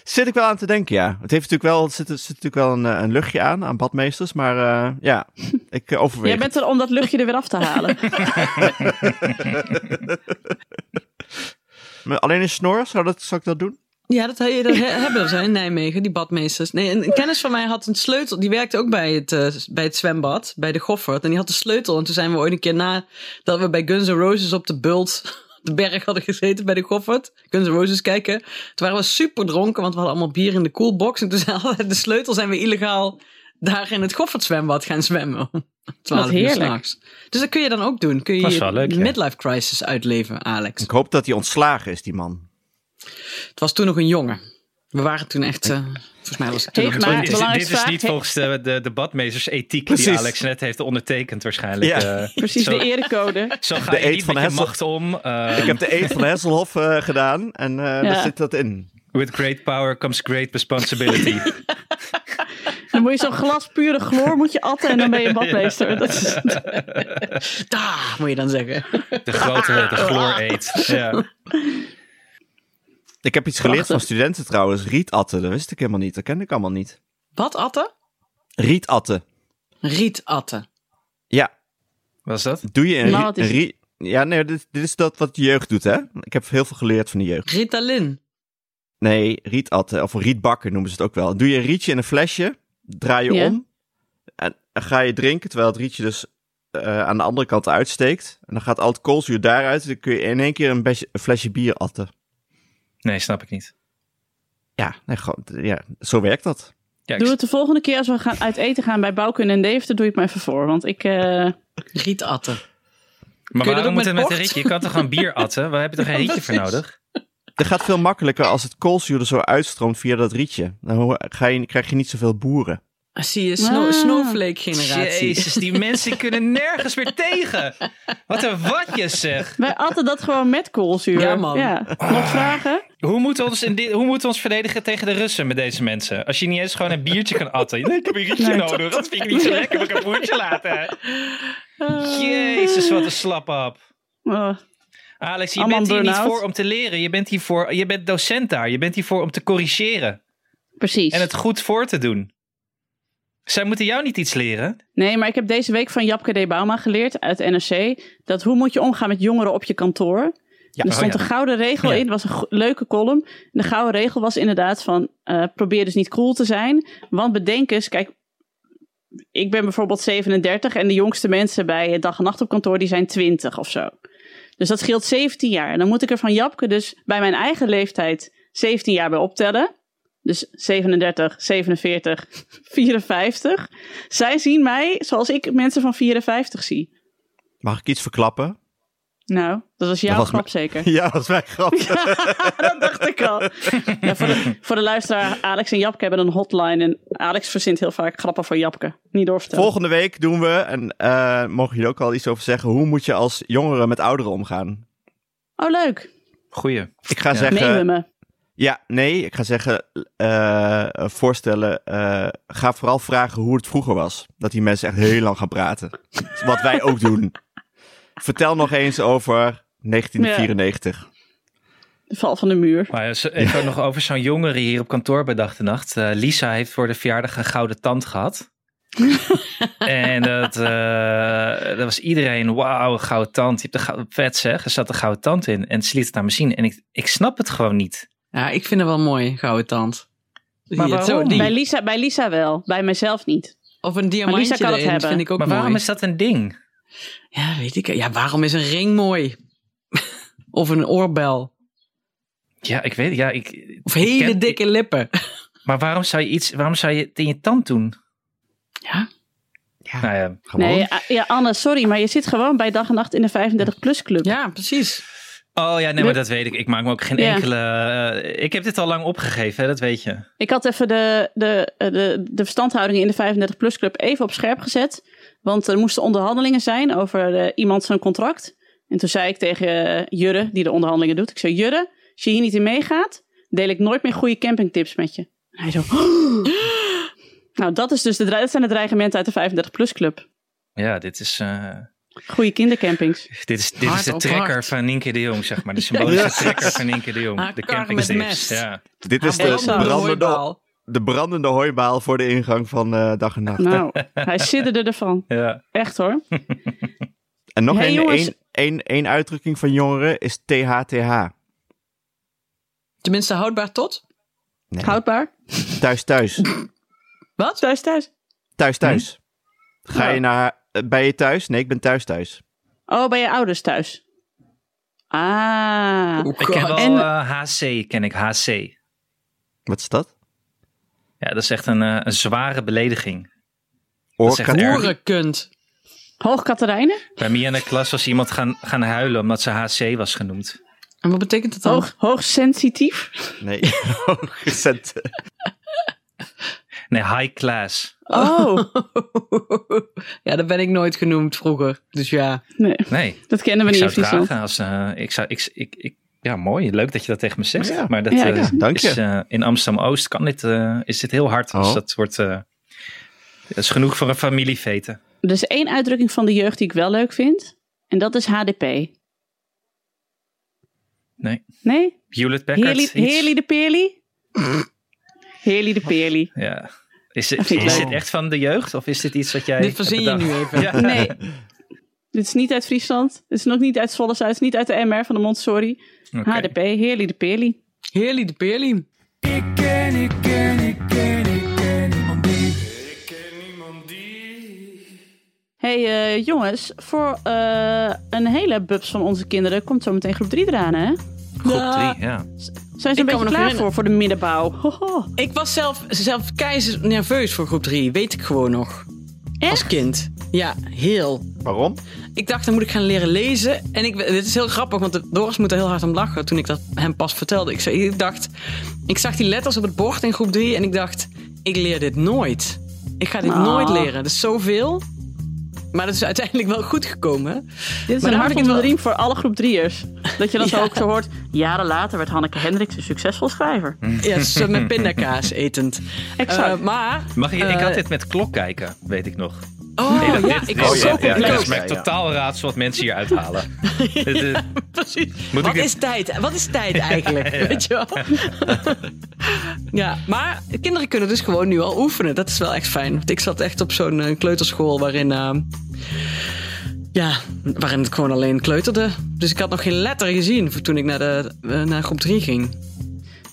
[SPEAKER 3] Zit ik wel aan te denken, ja. Het heeft natuurlijk wel, het zit, er zit natuurlijk wel een, eh, een luchtje aan, aan badmeesters. Maar eh, ja, ik eh, overweeg
[SPEAKER 4] Jij bent er om dat luchtje er weer af te halen.
[SPEAKER 3] het. Maar Alleen in snor, zou, dat, zou ik dat doen?
[SPEAKER 5] ja dat, he- dat he- hebben ze in Nijmegen, die badmeesters. Nee, een, een kennis van mij had een sleutel. Die werkte ook bij het, eh, bij het zwembad, bij de Goffert. En die had de sleutel. En toen zijn we ooit een keer na dat we bij Guns N' Roses op de bult. De berg hadden gezeten bij de Goffert. Guns N' Roses kijken. Toen waren we super dronken, want we hadden allemaal bier in de koelbox. En toen zijn we de sleutel zijn we illegaal daar in het Goffert zwembad gaan zwemmen. Om 12 uur
[SPEAKER 4] heerlijk.
[SPEAKER 5] s'nachts. Dus dat kun je dan ook doen. Kun je
[SPEAKER 2] Was
[SPEAKER 5] je
[SPEAKER 2] wel leuk, ja.
[SPEAKER 5] midlife crisis uitleven, Alex.
[SPEAKER 3] Ik hoop dat hij ontslagen is, die man.
[SPEAKER 5] Het was toen nog een jongen. We waren toen echt, eh, volgens mij was ik toen
[SPEAKER 4] Heeft
[SPEAKER 5] nog een
[SPEAKER 4] maar-
[SPEAKER 5] twintig.
[SPEAKER 2] dit, is, dit
[SPEAKER 4] belangrijkste
[SPEAKER 2] is
[SPEAKER 4] vraag-
[SPEAKER 2] niet volgens de, de, de badmeestersethiek die
[SPEAKER 3] Precies.
[SPEAKER 2] Alex net heeft ondertekend waarschijnlijk.
[SPEAKER 3] Ja.
[SPEAKER 2] Eh,
[SPEAKER 4] Precies,
[SPEAKER 2] zo,
[SPEAKER 4] de erecode.
[SPEAKER 2] zo ga
[SPEAKER 3] De
[SPEAKER 2] je
[SPEAKER 3] eet
[SPEAKER 2] niet
[SPEAKER 3] van
[SPEAKER 2] met je
[SPEAKER 3] Hessel.
[SPEAKER 2] macht om. eh,
[SPEAKER 3] Ik heb de eet van Hesselhoff eh, gedaan en eh, daar zit dat in.
[SPEAKER 2] With great power comes great responsibility.
[SPEAKER 4] Dan moet je zo'n glas pure chloor moet je atten en dan ben je badmeester. Dat is,
[SPEAKER 5] Daar, moet je dan zeggen.
[SPEAKER 2] De grote, de chloor eet. Ja.
[SPEAKER 3] Ik heb iets geleerd van studenten trouwens. Rietatten, dat wist ik helemaal niet. Dat kende ik allemaal niet.
[SPEAKER 5] Wat atten?
[SPEAKER 3] Rietatten.
[SPEAKER 5] Rietatten.
[SPEAKER 3] Ja,
[SPEAKER 2] Was dat?
[SPEAKER 3] doe je een,
[SPEAKER 4] Nou,
[SPEAKER 3] rie-
[SPEAKER 4] wat is
[SPEAKER 3] een rie- Ja, nee, dit, dit is dat wat de jeugd doet, hè? Ik heb heel veel geleerd van de jeugd.
[SPEAKER 5] Ritalin.
[SPEAKER 3] Nee, rietatten of rietbakken noemen ze het ook wel. Doe je een rietje in een flesje, draai je
[SPEAKER 4] Ja.
[SPEAKER 3] om en en ga je drinken terwijl het rietje dus eh, aan de andere kant uitsteekt. En dan gaat al het koolzuur daaruit en dan kun je in één keer een, besje- een flesje bier atten.
[SPEAKER 2] Nee, snap ik niet.
[SPEAKER 3] Ja, nee, gewoon, ja, zo werkt dat.
[SPEAKER 2] Ja, ik
[SPEAKER 4] doe het de volgende keer als we gaan uit eten gaan bij Bouwkunde en Deventer. Doe je het me even voor, want ik... eh,
[SPEAKER 5] Rietatten.
[SPEAKER 2] Maar
[SPEAKER 5] Kun je dat
[SPEAKER 2] waarom
[SPEAKER 5] ook
[SPEAKER 2] moet
[SPEAKER 5] met
[SPEAKER 2] het met een
[SPEAKER 5] bocht?
[SPEAKER 2] rietje? Je kan toch gewoon bier atten? Waar heb je toch een rietje voor
[SPEAKER 5] precies.
[SPEAKER 2] nodig?
[SPEAKER 3] Het gaat veel makkelijker als het koolzuur er zo uitstroomt via dat rietje. Dan ho- ga je, krijg je niet zoveel boeren.
[SPEAKER 5] Ah, Zie je, snow,
[SPEAKER 4] Ah.
[SPEAKER 5] snowflake generatie.
[SPEAKER 2] Jezus, die mensen kunnen nergens meer tegen. Wat een watjes zeg.
[SPEAKER 4] Wij atten dat gewoon met koolzuur.
[SPEAKER 5] Ja, man.
[SPEAKER 4] Nog vragen?
[SPEAKER 2] Hoe moeten, we ons in dit- hoe moeten we ons verdedigen tegen de Russen met deze mensen? Als je niet eens gewoon een biertje kan atten. Nee, ik heb een rietje
[SPEAKER 4] Nee.
[SPEAKER 2] nodig. Dat vind ik niet zo lekker. Moet ik een broertje laten? Jezus, wat een slappap.
[SPEAKER 4] Oh,
[SPEAKER 2] Alex, je
[SPEAKER 4] Allemaal
[SPEAKER 2] bent hier niet
[SPEAKER 4] burn-out.
[SPEAKER 2] voor om te leren. Je bent, hier voor, je bent docent daar. Je bent hier voor om te corrigeren.
[SPEAKER 4] precies.
[SPEAKER 2] En het goed voor te doen. Zij moeten jou niet iets leren.
[SPEAKER 4] Nee, maar ik heb deze week van Japke D. Bauma geleerd uit NRC. Dat hoe moet je omgaan met jongeren op je kantoor.
[SPEAKER 3] Ja,
[SPEAKER 4] er
[SPEAKER 2] oh
[SPEAKER 4] stond
[SPEAKER 2] ja.
[SPEAKER 4] een gouden regel
[SPEAKER 2] Ja.
[SPEAKER 4] in. Het was een go- leuke column. En de gouden regel was inderdaad van... eh, probeer dus niet cool te zijn. Want bedenk eens... Kijk, ik ben bijvoorbeeld 37... en de jongste mensen bij dag en nacht op kantoor... die zijn 20 of zo. Dus dat scheelt 17 jaar. En dan moet ik er van Japke dus bij mijn eigen leeftijd 17 jaar bij optellen. Dus 37, 47, 54. Zij zien mij zoals ik mensen van 54 zie.
[SPEAKER 3] Mag ik iets verklappen?
[SPEAKER 4] Nou, dat was jouw
[SPEAKER 3] Dat was
[SPEAKER 4] grap
[SPEAKER 3] me-
[SPEAKER 4] zeker.
[SPEAKER 3] Ja, dat is mijn grap.
[SPEAKER 4] dat dacht ik al. Ja, voor, de, voor de luisteraar, Alex en Japke hebben een hotline. En Alex verzint heel vaak grappen voor Japke. Niet doorvertellen.
[SPEAKER 3] Volgende week doen we, en eh mogen jullie ook al iets over zeggen, hoe moet je als jongere met ouderen omgaan?
[SPEAKER 4] Oh, leuk.
[SPEAKER 2] Goeie.
[SPEAKER 3] Ik ga
[SPEAKER 2] Ja.
[SPEAKER 3] zeggen...
[SPEAKER 4] Nemen me.
[SPEAKER 3] Ja, nee, ik ga zeggen, eh, voorstellen, eh, ga vooral vragen hoe het vroeger was. Dat die mensen echt heel lang gaan praten. Wat wij ook doen. Vertel nog eens over 1994.
[SPEAKER 4] De val van de muur.
[SPEAKER 2] Maar ze- even nog over zo'n jongere hier op kantoor bij dag en nacht. Eh, Lisa heeft voor de verjaardag een gouden tand gehad. en dat, eh, dat was iedereen, wauw, een gouden tand. Je hebt een gou- vet zeg, er zat een gouden tand in. En ze liet het aan me zien. En ik, ik snap het gewoon niet.
[SPEAKER 5] Ja, ik vind het wel mooi, gouden tand. Zie je het zo,
[SPEAKER 2] waarom?
[SPEAKER 5] die.
[SPEAKER 4] Bij Lisa, bij Lisa wel, bij mijzelf niet.
[SPEAKER 5] Of een diamantje
[SPEAKER 4] Lisa kan het
[SPEAKER 5] erin, dat
[SPEAKER 4] hebben.
[SPEAKER 5] vind ik ook
[SPEAKER 2] maar
[SPEAKER 5] mooi.
[SPEAKER 2] waarom is dat een ding?
[SPEAKER 5] Ja, weet ik. Ja, waarom is een ring mooi? of een oorbel.
[SPEAKER 2] Ja, ik weet ja, ik,
[SPEAKER 5] Of hele
[SPEAKER 2] Ik ken-
[SPEAKER 5] dikke lippen.
[SPEAKER 2] Maar waarom zou je iets, waarom zou je het in je tand doen?
[SPEAKER 5] Ja.
[SPEAKER 2] Nou ja,
[SPEAKER 3] Gewoon.
[SPEAKER 4] Nee, ah, ja, Anne, sorry, maar je zit gewoon bij dag en nacht in de 35-plus club.
[SPEAKER 5] ja, precies.
[SPEAKER 2] Oh ja, nee,
[SPEAKER 4] Met-
[SPEAKER 2] maar dat weet ik. Ik maak me ook geen
[SPEAKER 4] Ja.
[SPEAKER 2] enkele. eh, ik heb dit al lang opgegeven, hè, dat weet je.
[SPEAKER 4] Ik had even de, de, eh, de, de verstandhouding in de 35-plus club even op scherp gezet. Want er moesten onderhandelingen zijn over eh, iemand zijn contract. En toen zei ik tegen eh, Jurre, die de onderhandelingen doet. Ik zei, Jurre, als je hier niet in meegaat, deel ik nooit meer goede campingtips met je. En hij zo... nou, dat, is dus de, dre- dat zijn de dreigementen uit de 35-plus club.
[SPEAKER 2] Ja, dit is, eh,
[SPEAKER 4] Goede kindercampings.
[SPEAKER 2] dit is, dit is
[SPEAKER 5] Hard
[SPEAKER 2] de
[SPEAKER 5] op
[SPEAKER 2] trekker
[SPEAKER 5] hard.
[SPEAKER 2] van Nienke de Jong, zeg maar. De symbolische trekker van Nienke de Jong.
[SPEAKER 5] Haar
[SPEAKER 2] De
[SPEAKER 5] kar met
[SPEAKER 2] campingtips.
[SPEAKER 5] mes.
[SPEAKER 2] Ja.
[SPEAKER 3] Dit is
[SPEAKER 5] Haar
[SPEAKER 3] de
[SPEAKER 4] brandende
[SPEAKER 3] brandende,
[SPEAKER 5] hooibaal.
[SPEAKER 3] de brandende hooibaal voor de ingang van eh, dag en nacht.
[SPEAKER 4] Nou, hij sidderde ervan.
[SPEAKER 2] Ja.
[SPEAKER 4] Echt hoor.
[SPEAKER 3] En nog
[SPEAKER 4] Hey,
[SPEAKER 3] één
[SPEAKER 4] jongens.
[SPEAKER 3] één- één- één uitdrukking van jongeren is THTH.
[SPEAKER 5] Tenminste, houdbaar tot.
[SPEAKER 3] Nee,
[SPEAKER 4] Houdbaar.
[SPEAKER 3] Thuis, thuis.
[SPEAKER 5] Wat?
[SPEAKER 4] Thuis, thuis.
[SPEAKER 3] Thuis, thuis.
[SPEAKER 4] Hm.
[SPEAKER 3] Ga je naar, eh, ben je thuis? Nee, ik ben thuis, thuis.
[SPEAKER 4] Oh, bij je ouders thuis. Ah.
[SPEAKER 5] Oh,
[SPEAKER 2] Ik ken wel
[SPEAKER 5] God.
[SPEAKER 4] En-
[SPEAKER 2] eh, HC, ken ik HC.
[SPEAKER 3] Wat is dat?
[SPEAKER 2] Ja, dat is echt een, eh, een zware belediging. is echt
[SPEAKER 3] Oorkat-
[SPEAKER 2] erg.
[SPEAKER 5] Hoerenkunt.
[SPEAKER 4] Hoog Katarijnen?
[SPEAKER 2] Bij Mia in de klas was iemand gaan, gaan huilen omdat ze HC was genoemd.
[SPEAKER 5] En wat betekent dat dan?
[SPEAKER 2] Oh.
[SPEAKER 4] Hoog, hoog sensitief?
[SPEAKER 3] Nee, Oh, hoogcent.
[SPEAKER 2] Nee, high class.
[SPEAKER 4] Oh,
[SPEAKER 5] ja, dat ben ik nooit genoemd vroeger. Dus ja.
[SPEAKER 4] nee.
[SPEAKER 2] Nee.
[SPEAKER 4] Dat kennen we
[SPEAKER 2] Ik
[SPEAKER 4] niet in
[SPEAKER 2] zou het
[SPEAKER 4] Friesland.
[SPEAKER 2] dragen als... eh, ik zou, ik, ik, ik, ja, mooi. Leuk dat je dat tegen me zegt.
[SPEAKER 3] Ja.
[SPEAKER 2] Maar dat,
[SPEAKER 4] Ja,
[SPEAKER 2] eh,
[SPEAKER 4] ja,
[SPEAKER 3] dank je.
[SPEAKER 2] Is, eh, in Amsterdam-Oost kan dit, eh, is dit heel hard.
[SPEAKER 3] Oh.
[SPEAKER 2] Dus dat wordt... eh, dat is genoeg voor een familiefete.
[SPEAKER 4] Er is één uitdrukking van de jeugd die ik wel leuk vind. En dat is HDP.
[SPEAKER 2] Nee.
[SPEAKER 4] Nee?
[SPEAKER 2] Hewlett Packard.
[SPEAKER 4] Heerly
[SPEAKER 2] iets?
[SPEAKER 4] Heerly de Peerly? Heerly de Peerly.
[SPEAKER 2] Ja. Is,
[SPEAKER 4] Dat
[SPEAKER 2] dit,
[SPEAKER 4] vind ik
[SPEAKER 2] is
[SPEAKER 4] leuk.
[SPEAKER 2] dit echt van de jeugd? Of is dit iets wat jij...
[SPEAKER 5] Dit verzin je
[SPEAKER 2] hebt
[SPEAKER 5] nu
[SPEAKER 2] bedacht?
[SPEAKER 5] even.
[SPEAKER 2] Ja.
[SPEAKER 4] Nee. Dit is niet uit Friesland. Dit is nog niet uit Zwolle. Het is niet uit de MR van de Montessori.
[SPEAKER 2] Oké.
[SPEAKER 4] HDP, Heerly de Peerly.
[SPEAKER 5] Heerly de Peerly.
[SPEAKER 6] Ik ken, ik ken, ik ken, ik ken niemand die. Ik ken niemand die.
[SPEAKER 4] Hey eh, jongens, voor eh, een hele bubs van onze kinderen komt zo meteen groep 3 eraan, hè?
[SPEAKER 2] Groep
[SPEAKER 5] Ja.
[SPEAKER 2] drie, ja.
[SPEAKER 4] Zijn ze een
[SPEAKER 5] Ik kan me
[SPEAKER 4] beetje
[SPEAKER 5] nog
[SPEAKER 4] klaar voor,
[SPEAKER 5] herinneren.
[SPEAKER 4] voor de middenbouw? Hoho.
[SPEAKER 5] Ik was zelf, zelf keizer nerveus voor groep 3. Weet ik gewoon nog. Als
[SPEAKER 4] Echt?
[SPEAKER 5] kind. Ja, heel.
[SPEAKER 3] Waarom?
[SPEAKER 5] Ik dacht, dan moet ik gaan leren lezen. En ik, dit is heel grappig, want de- Doris moet er heel hard om lachen toen ik dat hem pas vertelde. Ik, zei, ik dacht, ik zag die letters op het bord in groep 3 en ik dacht, ik leer dit nooit. Ik ga dit
[SPEAKER 2] Nou.
[SPEAKER 4] Ah.
[SPEAKER 5] nooit leren. Dat is zoveel. Maar dat is uiteindelijk wel goed gekomen.
[SPEAKER 4] Dit is
[SPEAKER 5] Maar
[SPEAKER 4] een
[SPEAKER 5] dan
[SPEAKER 4] hart
[SPEAKER 5] heb ik het wel-
[SPEAKER 4] riem voor alle groep 3'ers. Dat je dan zo ook zo hoort. Jaren later werd Hanneke Hendricks een succesvol schrijver.
[SPEAKER 5] Ja, het is, eh, met pindakaas etend.
[SPEAKER 4] Exact.
[SPEAKER 5] Eh, maar...
[SPEAKER 2] Mag ik, ik had
[SPEAKER 5] eh,
[SPEAKER 2] dit met klok kijken, weet ik nog.
[SPEAKER 5] Oh,
[SPEAKER 2] Nee, dat-
[SPEAKER 5] ja,
[SPEAKER 2] dit-
[SPEAKER 5] ik
[SPEAKER 2] dit-
[SPEAKER 5] was
[SPEAKER 2] ja,
[SPEAKER 5] zo
[SPEAKER 2] ja,
[SPEAKER 5] complex.
[SPEAKER 2] Dat is mijn
[SPEAKER 3] Ja, ja.
[SPEAKER 2] totaal raadsel wat mensen hier uithalen. Dit- dit-
[SPEAKER 5] Precies.
[SPEAKER 2] Moet
[SPEAKER 5] Wat
[SPEAKER 2] ik dit-
[SPEAKER 5] is tijd? Wat is tijd eigenlijk? Weet je wel? ja, maar kinderen kunnen dus gewoon nu al oefenen. Dat is wel echt fijn. Want ik zat echt op zo'n eh, kleuterschool waarin... eh, ja, waarin het gewoon alleen kleuterde. Dus ik had nog geen letter gezien voor toen ik naar, de, eh, naar groep 3 ging.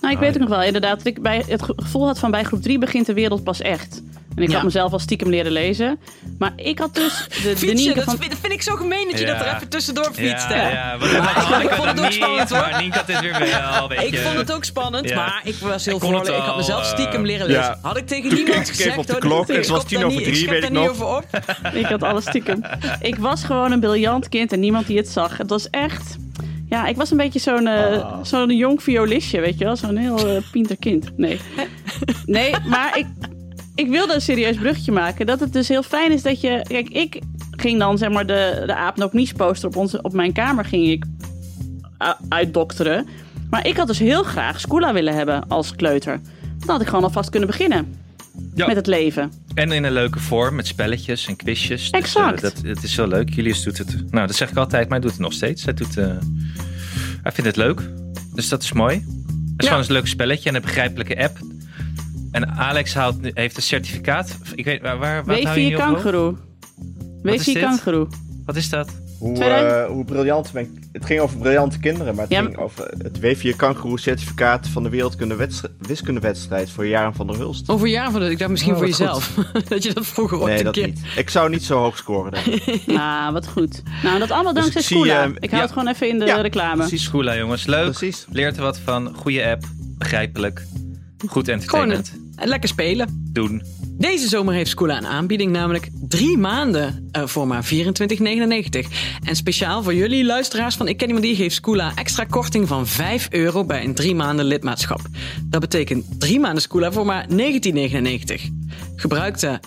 [SPEAKER 4] Nou, ik weet het nog wel inderdaad. Dat ik bij het ge- gevoel had van bij groep 3 begint de wereld pas echt. En ik
[SPEAKER 5] Ja.
[SPEAKER 4] had mezelf al stiekem leren lezen. Maar ik had dus de, de
[SPEAKER 5] Fietsen,
[SPEAKER 4] Nienke
[SPEAKER 5] dat
[SPEAKER 4] van...
[SPEAKER 5] vind, dat vind ik zo gemeen dat je
[SPEAKER 2] Ja.
[SPEAKER 5] dat er even tussendoor fietst.
[SPEAKER 2] ja,
[SPEAKER 5] hè?
[SPEAKER 2] ja, want dat had
[SPEAKER 5] ik vond
[SPEAKER 2] Hanneke
[SPEAKER 5] het
[SPEAKER 2] dan
[SPEAKER 5] ook spannend,
[SPEAKER 2] niet,
[SPEAKER 5] hoor.
[SPEAKER 2] maar Nienke had dit weer wel, weet
[SPEAKER 5] Ik
[SPEAKER 2] je.
[SPEAKER 5] vond het ook spannend,
[SPEAKER 2] Ja.
[SPEAKER 5] maar ik was heel
[SPEAKER 2] Ik kon het
[SPEAKER 5] vrolijk. Ik had
[SPEAKER 2] al,
[SPEAKER 5] mezelf
[SPEAKER 2] eh,
[SPEAKER 5] stiekem leren
[SPEAKER 3] ja.
[SPEAKER 5] lezen. Had ik tegen
[SPEAKER 3] Toen keek
[SPEAKER 5] niemand
[SPEAKER 3] ik even
[SPEAKER 5] gezegd...
[SPEAKER 3] op de
[SPEAKER 5] hoor,
[SPEAKER 3] klok,
[SPEAKER 5] ik
[SPEAKER 3] het was
[SPEAKER 5] schop
[SPEAKER 3] tien
[SPEAKER 5] daar
[SPEAKER 3] over
[SPEAKER 5] niet-
[SPEAKER 3] drie,
[SPEAKER 5] schep
[SPEAKER 3] weet
[SPEAKER 5] daar
[SPEAKER 3] ik
[SPEAKER 5] niet
[SPEAKER 3] nog.
[SPEAKER 5] over op.
[SPEAKER 4] Ik had alles stiekem. Ik was gewoon een briljant kind en niemand die het zag. Het was echt... Ja, ik was een beetje zo'n eh, zo'n jong violistje, weet je wel? Zo'n heel eh, pinter kind. Nee. Nee, maar ik, ik wilde een serieus bruggetje maken. Dat het dus heel fijn is dat je... Kijk, ik ging dan zeg maar de, de aapnopnies poster op, onze, op mijn kamer ging ik u- uitdokteren. Maar ik had dus heel graag Scoola willen hebben als kleuter. Dan had ik gewoon alvast kunnen beginnen
[SPEAKER 2] Ja.
[SPEAKER 4] met het leven.
[SPEAKER 2] En in een leuke vorm, met spelletjes en quizjes.
[SPEAKER 4] Exact.
[SPEAKER 2] Dus, eh, dat, het is wel leuk. Julius doet het. Nou, dat zeg ik altijd, maar hij doet het nog steeds. Hij, doet, eh, hij vindt het leuk. Dus dat is mooi. Het is gewoon een leuk spelletje en een begrijpelijke app. En Alex haalt, nu- heeft een certificaat. Ik weet, waar, waar wat hou je
[SPEAKER 4] W4
[SPEAKER 2] nu op?
[SPEAKER 4] kangeroe.
[SPEAKER 2] is
[SPEAKER 4] W4
[SPEAKER 2] dit?
[SPEAKER 4] kangeroe.
[SPEAKER 2] Wat is dat?
[SPEAKER 3] Hoe,
[SPEAKER 4] Tweede?
[SPEAKER 3] eh, hoe briljant ben ik. Het ging over briljante kinderen, maar het
[SPEAKER 4] Ja,
[SPEAKER 3] ging over het W4 kangeroe certificaat van de wereldkunde wiskundewedstrijd voor Jaren van der Hulst.
[SPEAKER 5] Over jaren van dat ik dacht misschien
[SPEAKER 2] Oh,
[SPEAKER 5] voor
[SPEAKER 2] wat
[SPEAKER 5] jezelf. dat je dat vroeger ooit
[SPEAKER 3] nee,
[SPEAKER 5] een
[SPEAKER 3] dat
[SPEAKER 5] keer...
[SPEAKER 3] niet. Ik zou niet zo hoog scoren. Denk ik.
[SPEAKER 4] Ah, wat goed. Nou, dat allemaal
[SPEAKER 3] Dus
[SPEAKER 4] dankzij
[SPEAKER 3] ik zie,
[SPEAKER 4] Scoola.
[SPEAKER 3] eh,
[SPEAKER 4] ik hou
[SPEAKER 2] ja.
[SPEAKER 4] het gewoon even in de
[SPEAKER 3] Ja,
[SPEAKER 4] reclame.
[SPEAKER 2] Precies. Schoola, jongens. Leuk.
[SPEAKER 3] Precies.
[SPEAKER 2] Leert er wat van. Goede app. Begrijpelijk. Goed entertainment.
[SPEAKER 5] Lekker spelen.
[SPEAKER 2] Doen.
[SPEAKER 5] Deze zomer heeft Scoola een aanbieding, namelijk drie maanden eh, voor maar 24,99. En speciaal voor jullie luisteraars van Ik Ken Iemand Die geeft Scoola extra korting van 5 euro bij een drie maanden lidmaatschap. Dat betekent drie maanden Scoola voor maar 19,99. Gebruik de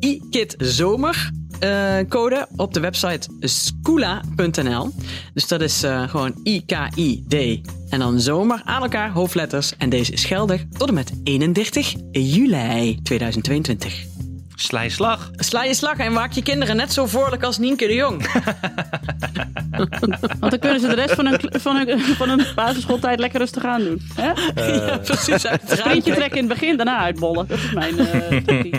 [SPEAKER 5] iKit Zomer eh, code op de website scoola.nl. Dus dat is eh, gewoon I-K-I-D en dan zomer aan elkaar hoofdletters. En deze is geldig tot en met 31 juli 2022.
[SPEAKER 2] Sla je slag.
[SPEAKER 5] Sla je slag en maak je kinderen net zo voorlijk als Nienke de Jong.
[SPEAKER 4] Want dan kunnen ze de rest van hun, kle- van hun, van hun basisschooltijd lekker rustig aan doen. Hè?
[SPEAKER 2] Eh.
[SPEAKER 5] ja, precies. Uit het raam.
[SPEAKER 4] Printje trekken in het begin, daarna uitbollen. Dat is mijn eh tactiek.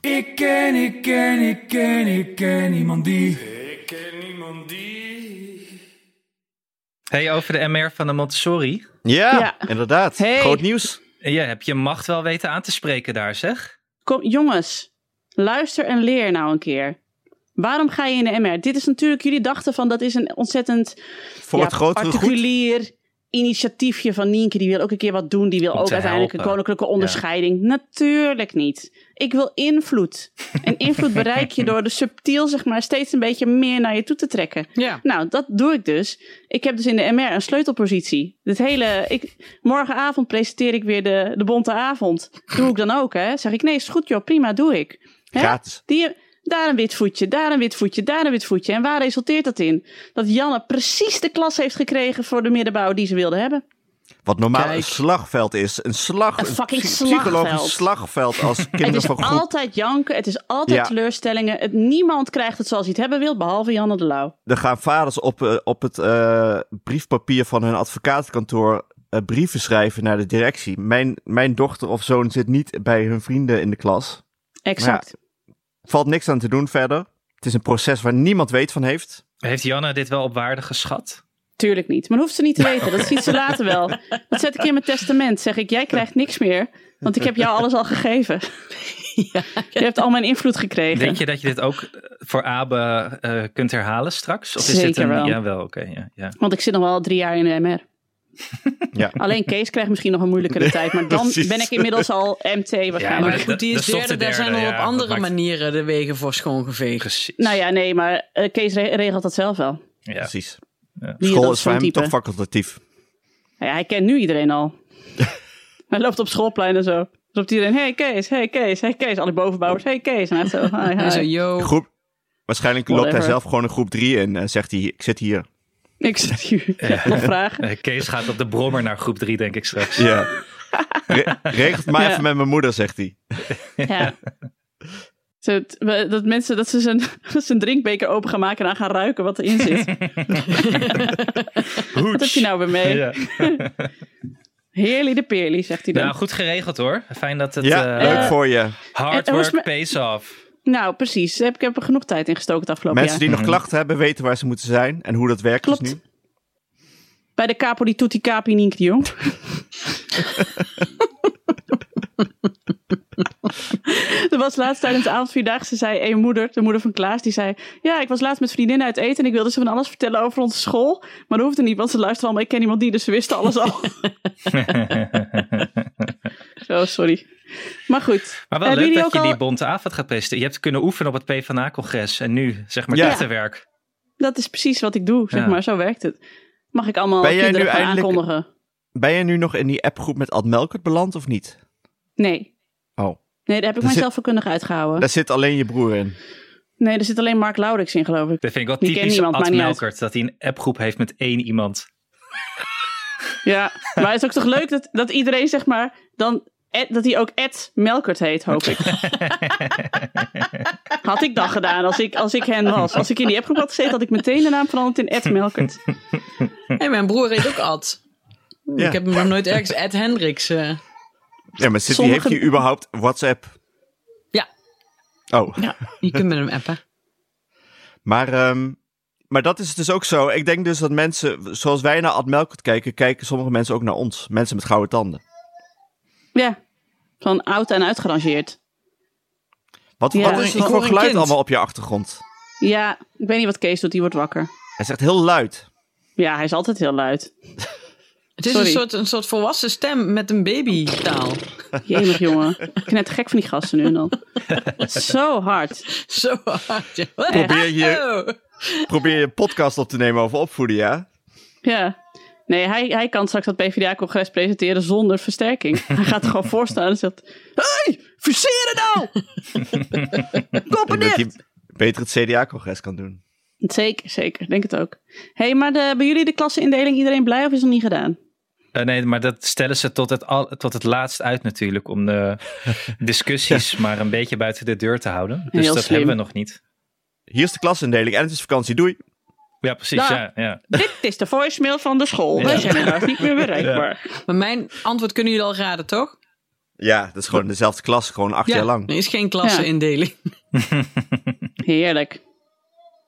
[SPEAKER 6] Ik ken, ik ken, ik ken, ik ken niemand die. Ik ken niemand die.
[SPEAKER 2] Hey, over de MR van de Montessori.
[SPEAKER 3] Ja,
[SPEAKER 4] Ja.
[SPEAKER 3] inderdaad.
[SPEAKER 4] Hey.
[SPEAKER 3] Groot nieuws.
[SPEAKER 2] Ja, heb je macht wel weten aan te spreken daar, zeg?
[SPEAKER 4] Kom, jongens, luister en leer nou een keer. Waarom ga je in de MR? Dit is natuurlijk, jullie dachten van dat is een ontzettend
[SPEAKER 3] Voor
[SPEAKER 4] ja,
[SPEAKER 3] het grotere goed.
[SPEAKER 4] particulier initiatiefje van Nienke. Die wil ook een keer wat doen. Die wil
[SPEAKER 2] Om
[SPEAKER 4] ook
[SPEAKER 2] te
[SPEAKER 4] uiteindelijk een
[SPEAKER 2] helpen.
[SPEAKER 4] koninklijke onderscheiding. Natuurlijk niet. Ik wil invloed. En invloed bereik je door de subtiel, zeg maar, steeds een beetje meer naar je toe te trekken.
[SPEAKER 5] Ja.
[SPEAKER 4] Nou, dat doe ik dus. Ik heb dus in de MR een sleutelpositie. Dit hele, ik, morgenavond presenteer ik weer de, de bonte avond. Doe ik dan ook, hè? Zeg ik, nee, is goed joh, prima, doe ik. Hè?
[SPEAKER 3] Gratis.
[SPEAKER 4] Die, daar een wit voetje, daar een wit voetje, daar een wit voetje. En waar resulteert dat in? Dat Janne precies de klas heeft gekregen voor de middenbouw die ze wilde hebben.
[SPEAKER 3] Wat normaal
[SPEAKER 5] Kijk.
[SPEAKER 3] een slagveld is. Een slag.
[SPEAKER 4] Een fucking
[SPEAKER 3] psy- psychologisch
[SPEAKER 4] slagveld.
[SPEAKER 3] slagveld als
[SPEAKER 4] Het
[SPEAKER 3] kinderen
[SPEAKER 4] is
[SPEAKER 3] van groep.
[SPEAKER 4] altijd janken, het is altijd
[SPEAKER 3] Ja.
[SPEAKER 4] teleurstellingen. Het, niemand krijgt het zoals hij het hebben wil, behalve Janne de Lauw.
[SPEAKER 3] Dan gaan vaders op, eh, op het eh, briefpapier van hun advocatenkantoor eh, brieven schrijven naar de directie. Mijn, mijn dochter of zoon zit niet bij hun vrienden in de klas.
[SPEAKER 4] Exact.
[SPEAKER 3] Valt niks aan te doen verder. Het is een proces waar niemand weet van heeft.
[SPEAKER 2] Heeft Janna dit wel op waarde geschat?
[SPEAKER 4] Tuurlijk niet. Maar dat hoeft ze niet te weten. Dat ziet ze later wel. Dat zet ik in mijn testament. Zeg ik, jij krijgt niks meer. Want ik heb jou alles al gegeven. Je hebt al mijn invloed gekregen.
[SPEAKER 2] Denk je dat je dit ook eh, voor Abe eh, kunt herhalen straks? Of is dit
[SPEAKER 4] Zeker
[SPEAKER 2] een...
[SPEAKER 4] wel.
[SPEAKER 2] Ja, wel, oké. ja, ja.
[SPEAKER 4] Want ik zit nog wel drie jaar in de MR.
[SPEAKER 3] Ja.
[SPEAKER 4] Alleen Kees krijgt misschien nog een moeilijkere tijd. Maar dan
[SPEAKER 3] precies.
[SPEAKER 4] ben ik inmiddels al MT
[SPEAKER 2] maar
[SPEAKER 5] Maar
[SPEAKER 4] waarschijnlijk.
[SPEAKER 2] dat-
[SPEAKER 5] goed, die
[SPEAKER 2] dat
[SPEAKER 5] is
[SPEAKER 2] is toch de
[SPEAKER 5] derde. Daar zijn
[SPEAKER 2] derde,
[SPEAKER 5] al
[SPEAKER 2] ja,
[SPEAKER 5] op
[SPEAKER 2] dat
[SPEAKER 5] andere
[SPEAKER 2] maakt-
[SPEAKER 5] manieren de wegen voor schoongeveegd.
[SPEAKER 2] Precies.
[SPEAKER 4] Nou ja, nee, maar eh, Kees re- regelt dat zelf wel.
[SPEAKER 2] ja.
[SPEAKER 3] Precies.
[SPEAKER 4] Wie
[SPEAKER 3] School
[SPEAKER 4] dat
[SPEAKER 3] is
[SPEAKER 4] zo'n
[SPEAKER 3] voor hem
[SPEAKER 4] type.
[SPEAKER 3] toch facultatief.
[SPEAKER 4] Nou ja, hij kent nu iedereen al. hij loopt op schoolplein en zo. Roept iedereen, hey Kees, hey Kees, hey Kees. Alle bovenbouwers, hey Kees. En hij zo, hi, hi.
[SPEAKER 5] En zo, yo.
[SPEAKER 3] Groep, waarschijnlijk loopt hij
[SPEAKER 4] Oh. Whatever.
[SPEAKER 3] zelf gewoon in groep 3 in en zegt hij, ik zit hier.
[SPEAKER 4] Ik zit hier. Nog vragen?
[SPEAKER 2] Eh, Kees gaat op de brommer naar groep 3, denk ik straks.
[SPEAKER 3] Ja. Re- regel het maar
[SPEAKER 4] Ja.
[SPEAKER 3] even met mijn moeder, zegt hij.
[SPEAKER 4] Ja. Zo, het- we- Dat mensen dat ze zijn, zijn drinkbeker open gaan maken en aan gaan ruiken wat erin zit. wat heb je nou weer mee?
[SPEAKER 2] Ja.
[SPEAKER 4] Heerly de peerly, zegt hij dan.
[SPEAKER 2] Nou, goed geregeld hoor. Fijn dat het
[SPEAKER 3] Ja,
[SPEAKER 2] eh,
[SPEAKER 3] leuk voor je.
[SPEAKER 2] hard
[SPEAKER 4] Eh, hoe is
[SPEAKER 2] work
[SPEAKER 4] mijn-
[SPEAKER 2] pays off.
[SPEAKER 4] Nou, precies. Ik heb er genoeg tijd in gestoken het afgelopen
[SPEAKER 3] Mensen
[SPEAKER 4] jaar.
[SPEAKER 3] dus die nog klachten hebben, weten waar ze moeten zijn en hoe dat werkt
[SPEAKER 4] Klopt.
[SPEAKER 3] dus nu.
[SPEAKER 4] Bij de capo di tutti capi Nienke de Jong. er was laatst tijdens de avondvierdaagse zei een moeder, de moeder van Klaas, die zei... Ja, ik was laatst met vriendinnen uit eten en ik wilde ze van alles vertellen over onze school. Maar dat hoefde niet, want ze luisterden allemaal. Ik ken iemand die, dus ze wisten alles al. oh, sorry. Maar goed.
[SPEAKER 2] Maar wel
[SPEAKER 4] Hebben
[SPEAKER 2] leuk
[SPEAKER 4] jullie
[SPEAKER 2] dat je
[SPEAKER 4] ook
[SPEAKER 2] die
[SPEAKER 4] al-
[SPEAKER 2] bonte avond gaat presenteren. Je hebt kunnen oefenen op het PvdA-congres en nu zeg maar
[SPEAKER 3] Ja.
[SPEAKER 2] dichterwerk.
[SPEAKER 4] Dat is precies wat ik doe, zeg
[SPEAKER 2] Ja.
[SPEAKER 4] maar. Zo werkt het. Mag ik allemaal
[SPEAKER 3] Ben jij
[SPEAKER 4] kinderen
[SPEAKER 3] nu
[SPEAKER 4] gaan
[SPEAKER 3] eindelijk-
[SPEAKER 4] aankondigen?
[SPEAKER 3] Ben je nu nog in die appgroep met Ad Melkert beland of niet?
[SPEAKER 4] Nee.
[SPEAKER 3] Oh,
[SPEAKER 4] Nee, daar heb ik
[SPEAKER 3] zit-
[SPEAKER 4] mijzelf vakkundig uitgehouden.
[SPEAKER 3] daar zit alleen je broer in.
[SPEAKER 4] Nee, er zit alleen Mark Laurix in, geloof ik.
[SPEAKER 2] Dat vind ik
[SPEAKER 4] Die
[SPEAKER 2] wel
[SPEAKER 4] kent
[SPEAKER 2] typisch
[SPEAKER 4] niemand,
[SPEAKER 2] Ad
[SPEAKER 4] maakt niet uit.
[SPEAKER 2] Melkert. Dat hij een appgroep heeft met één iemand.
[SPEAKER 4] Ja, maar het is ook toch leuk dat, dat iedereen, zeg maar, dan, Ed- dat hij ook Ed Melkert heet, hoop ik. had ik dat gedaan als ik, als ik hen was. Als ik in die appgroep had gezeten, had ik meteen de naam veranderd in Ed Melkert.
[SPEAKER 5] Hey, mijn broer heet ook Ad.
[SPEAKER 3] Ja.
[SPEAKER 5] Ik heb hem nog nooit ergens Ed Hendricks. eh.
[SPEAKER 3] Ja, maar zit, die
[SPEAKER 4] Sommige-
[SPEAKER 3] heeft hij überhaupt WhatsApp?
[SPEAKER 5] Ja.
[SPEAKER 3] Oh,
[SPEAKER 5] Je kunt met hem appen.
[SPEAKER 3] maar, ehm, maar dat is dus ook zo. Ik denk dus dat mensen, zoals wij naar Ad Melkert kijken, kijken sommige mensen ook naar ons. Mensen met gouden tanden.
[SPEAKER 4] Ja, van oud en uitgerangeerd.
[SPEAKER 3] Wat,
[SPEAKER 4] Ja.
[SPEAKER 3] wat is
[SPEAKER 5] Ik
[SPEAKER 3] het
[SPEAKER 5] hoor
[SPEAKER 3] voor
[SPEAKER 5] een
[SPEAKER 3] geluid
[SPEAKER 5] kind.
[SPEAKER 3] allemaal op je achtergrond?
[SPEAKER 4] Ja, ik weet niet wat Kees doet, die wordt wakker.
[SPEAKER 3] Hij zegt heel luid.
[SPEAKER 4] Ja, hij is altijd heel luid.
[SPEAKER 5] Het is
[SPEAKER 4] Sorry.
[SPEAKER 5] een soort, een soort volwassen stem met een babytaal.
[SPEAKER 4] Jemig jongen. Ik ben net gek van die gasten nu en dan. Zo hard.
[SPEAKER 5] Zo hard. ja.
[SPEAKER 3] Probeer je,
[SPEAKER 5] Oh.
[SPEAKER 3] probeer je een podcast op te nemen over opvoeden, ja?
[SPEAKER 4] Ja. Nee, hij, hij kan straks dat PvdA-congres presenteren zonder versterking. Hij gaat er gewoon voor staan en zegt... Hey, verseren nou!
[SPEAKER 3] Ik denk dat hij beter het CDA-congres kan doen.
[SPEAKER 4] Zeker, zeker. Denk het ook. Hé, hey, maar de, bij jullie de klassenindeling iedereen blij of is dat niet gedaan?
[SPEAKER 2] Eh, nee, maar dat stellen ze tot het, al, tot het laatst uit natuurlijk. Om de discussies maar een beetje buiten de deur te houden. Dus
[SPEAKER 4] Heel
[SPEAKER 2] dat
[SPEAKER 4] slim.
[SPEAKER 2] hebben we nog niet.
[SPEAKER 3] Hier is de klasindeling en het is vakantie. Doei.
[SPEAKER 2] Ja, precies.
[SPEAKER 4] Ja.
[SPEAKER 2] Ja, ja.
[SPEAKER 4] Dit is de voicemail van de school. Wij
[SPEAKER 2] Ja.
[SPEAKER 4] zijn helaas niet meer bereikbaar.
[SPEAKER 5] Maar mijn antwoord kunnen jullie al raden, toch?
[SPEAKER 3] Ja, dat is gewoon dezelfde klas, gewoon acht jaar lang.
[SPEAKER 5] Er is geen klasseindeling.
[SPEAKER 4] Heerlijk.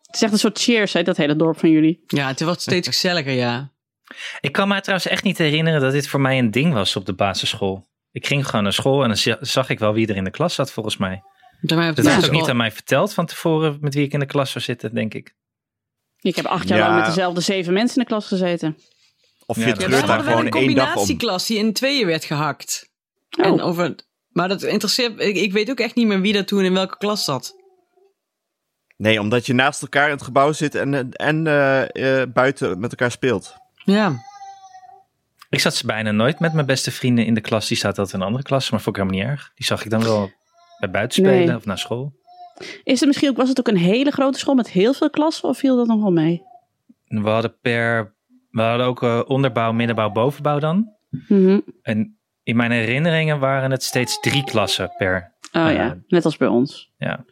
[SPEAKER 4] Het is echt een soort cheers, hè, dat hele dorp van jullie.
[SPEAKER 5] Ja, het wordt steeds gezelliger, ja.
[SPEAKER 2] Ik kan me trouwens echt niet herinneren dat dit voor mij een ding was op de basisschool. Ik ging gewoon naar school en dan za- zag ik wel wie er in de klas zat volgens mij. Dus
[SPEAKER 5] Dat
[SPEAKER 2] Dat is ook niet aan mij verteld van tevoren met wie ik in de klas zou zitten, denk ik.
[SPEAKER 4] Ik heb acht jaar
[SPEAKER 3] Ja.
[SPEAKER 4] lang met dezelfde zeven mensen in de klas gezeten.
[SPEAKER 3] Of
[SPEAKER 2] Ja,
[SPEAKER 3] je
[SPEAKER 2] dat-
[SPEAKER 5] Ja,
[SPEAKER 3] kleurt
[SPEAKER 5] daar
[SPEAKER 3] daar
[SPEAKER 5] hadden wij
[SPEAKER 3] gewoon
[SPEAKER 5] een
[SPEAKER 3] één dag om.
[SPEAKER 5] combinatieklas die in tweeën werd gehakt.
[SPEAKER 4] Oh.
[SPEAKER 5] En over, maar dat interesseert... Ik, ik weet ook echt niet meer wie dat toen in welke klas zat.
[SPEAKER 3] Nee, omdat je naast elkaar in het gebouw zit en, eh, en eh, eh, buiten met elkaar speelt.
[SPEAKER 5] Ja.
[SPEAKER 2] Ik zat bijna nooit met mijn beste vrienden in de klas. Die zaten altijd in een andere klas, maar vond ik helemaal niet erg. Die zag ik dan wel bij buitenspelen
[SPEAKER 4] Nee.
[SPEAKER 2] of naar school.
[SPEAKER 4] Is het misschien ook, was het ook een hele grote school met heel veel klassen of viel dat nog wel mee?
[SPEAKER 2] We hadden per. We hadden ook eh, onderbouw, middenbouw, bovenbouw dan.
[SPEAKER 4] Mhm.
[SPEAKER 2] En in mijn herinneringen waren het steeds drie klassen per.
[SPEAKER 4] Oh
[SPEAKER 2] Eh,
[SPEAKER 4] ja, net als bij ons.
[SPEAKER 2] ja.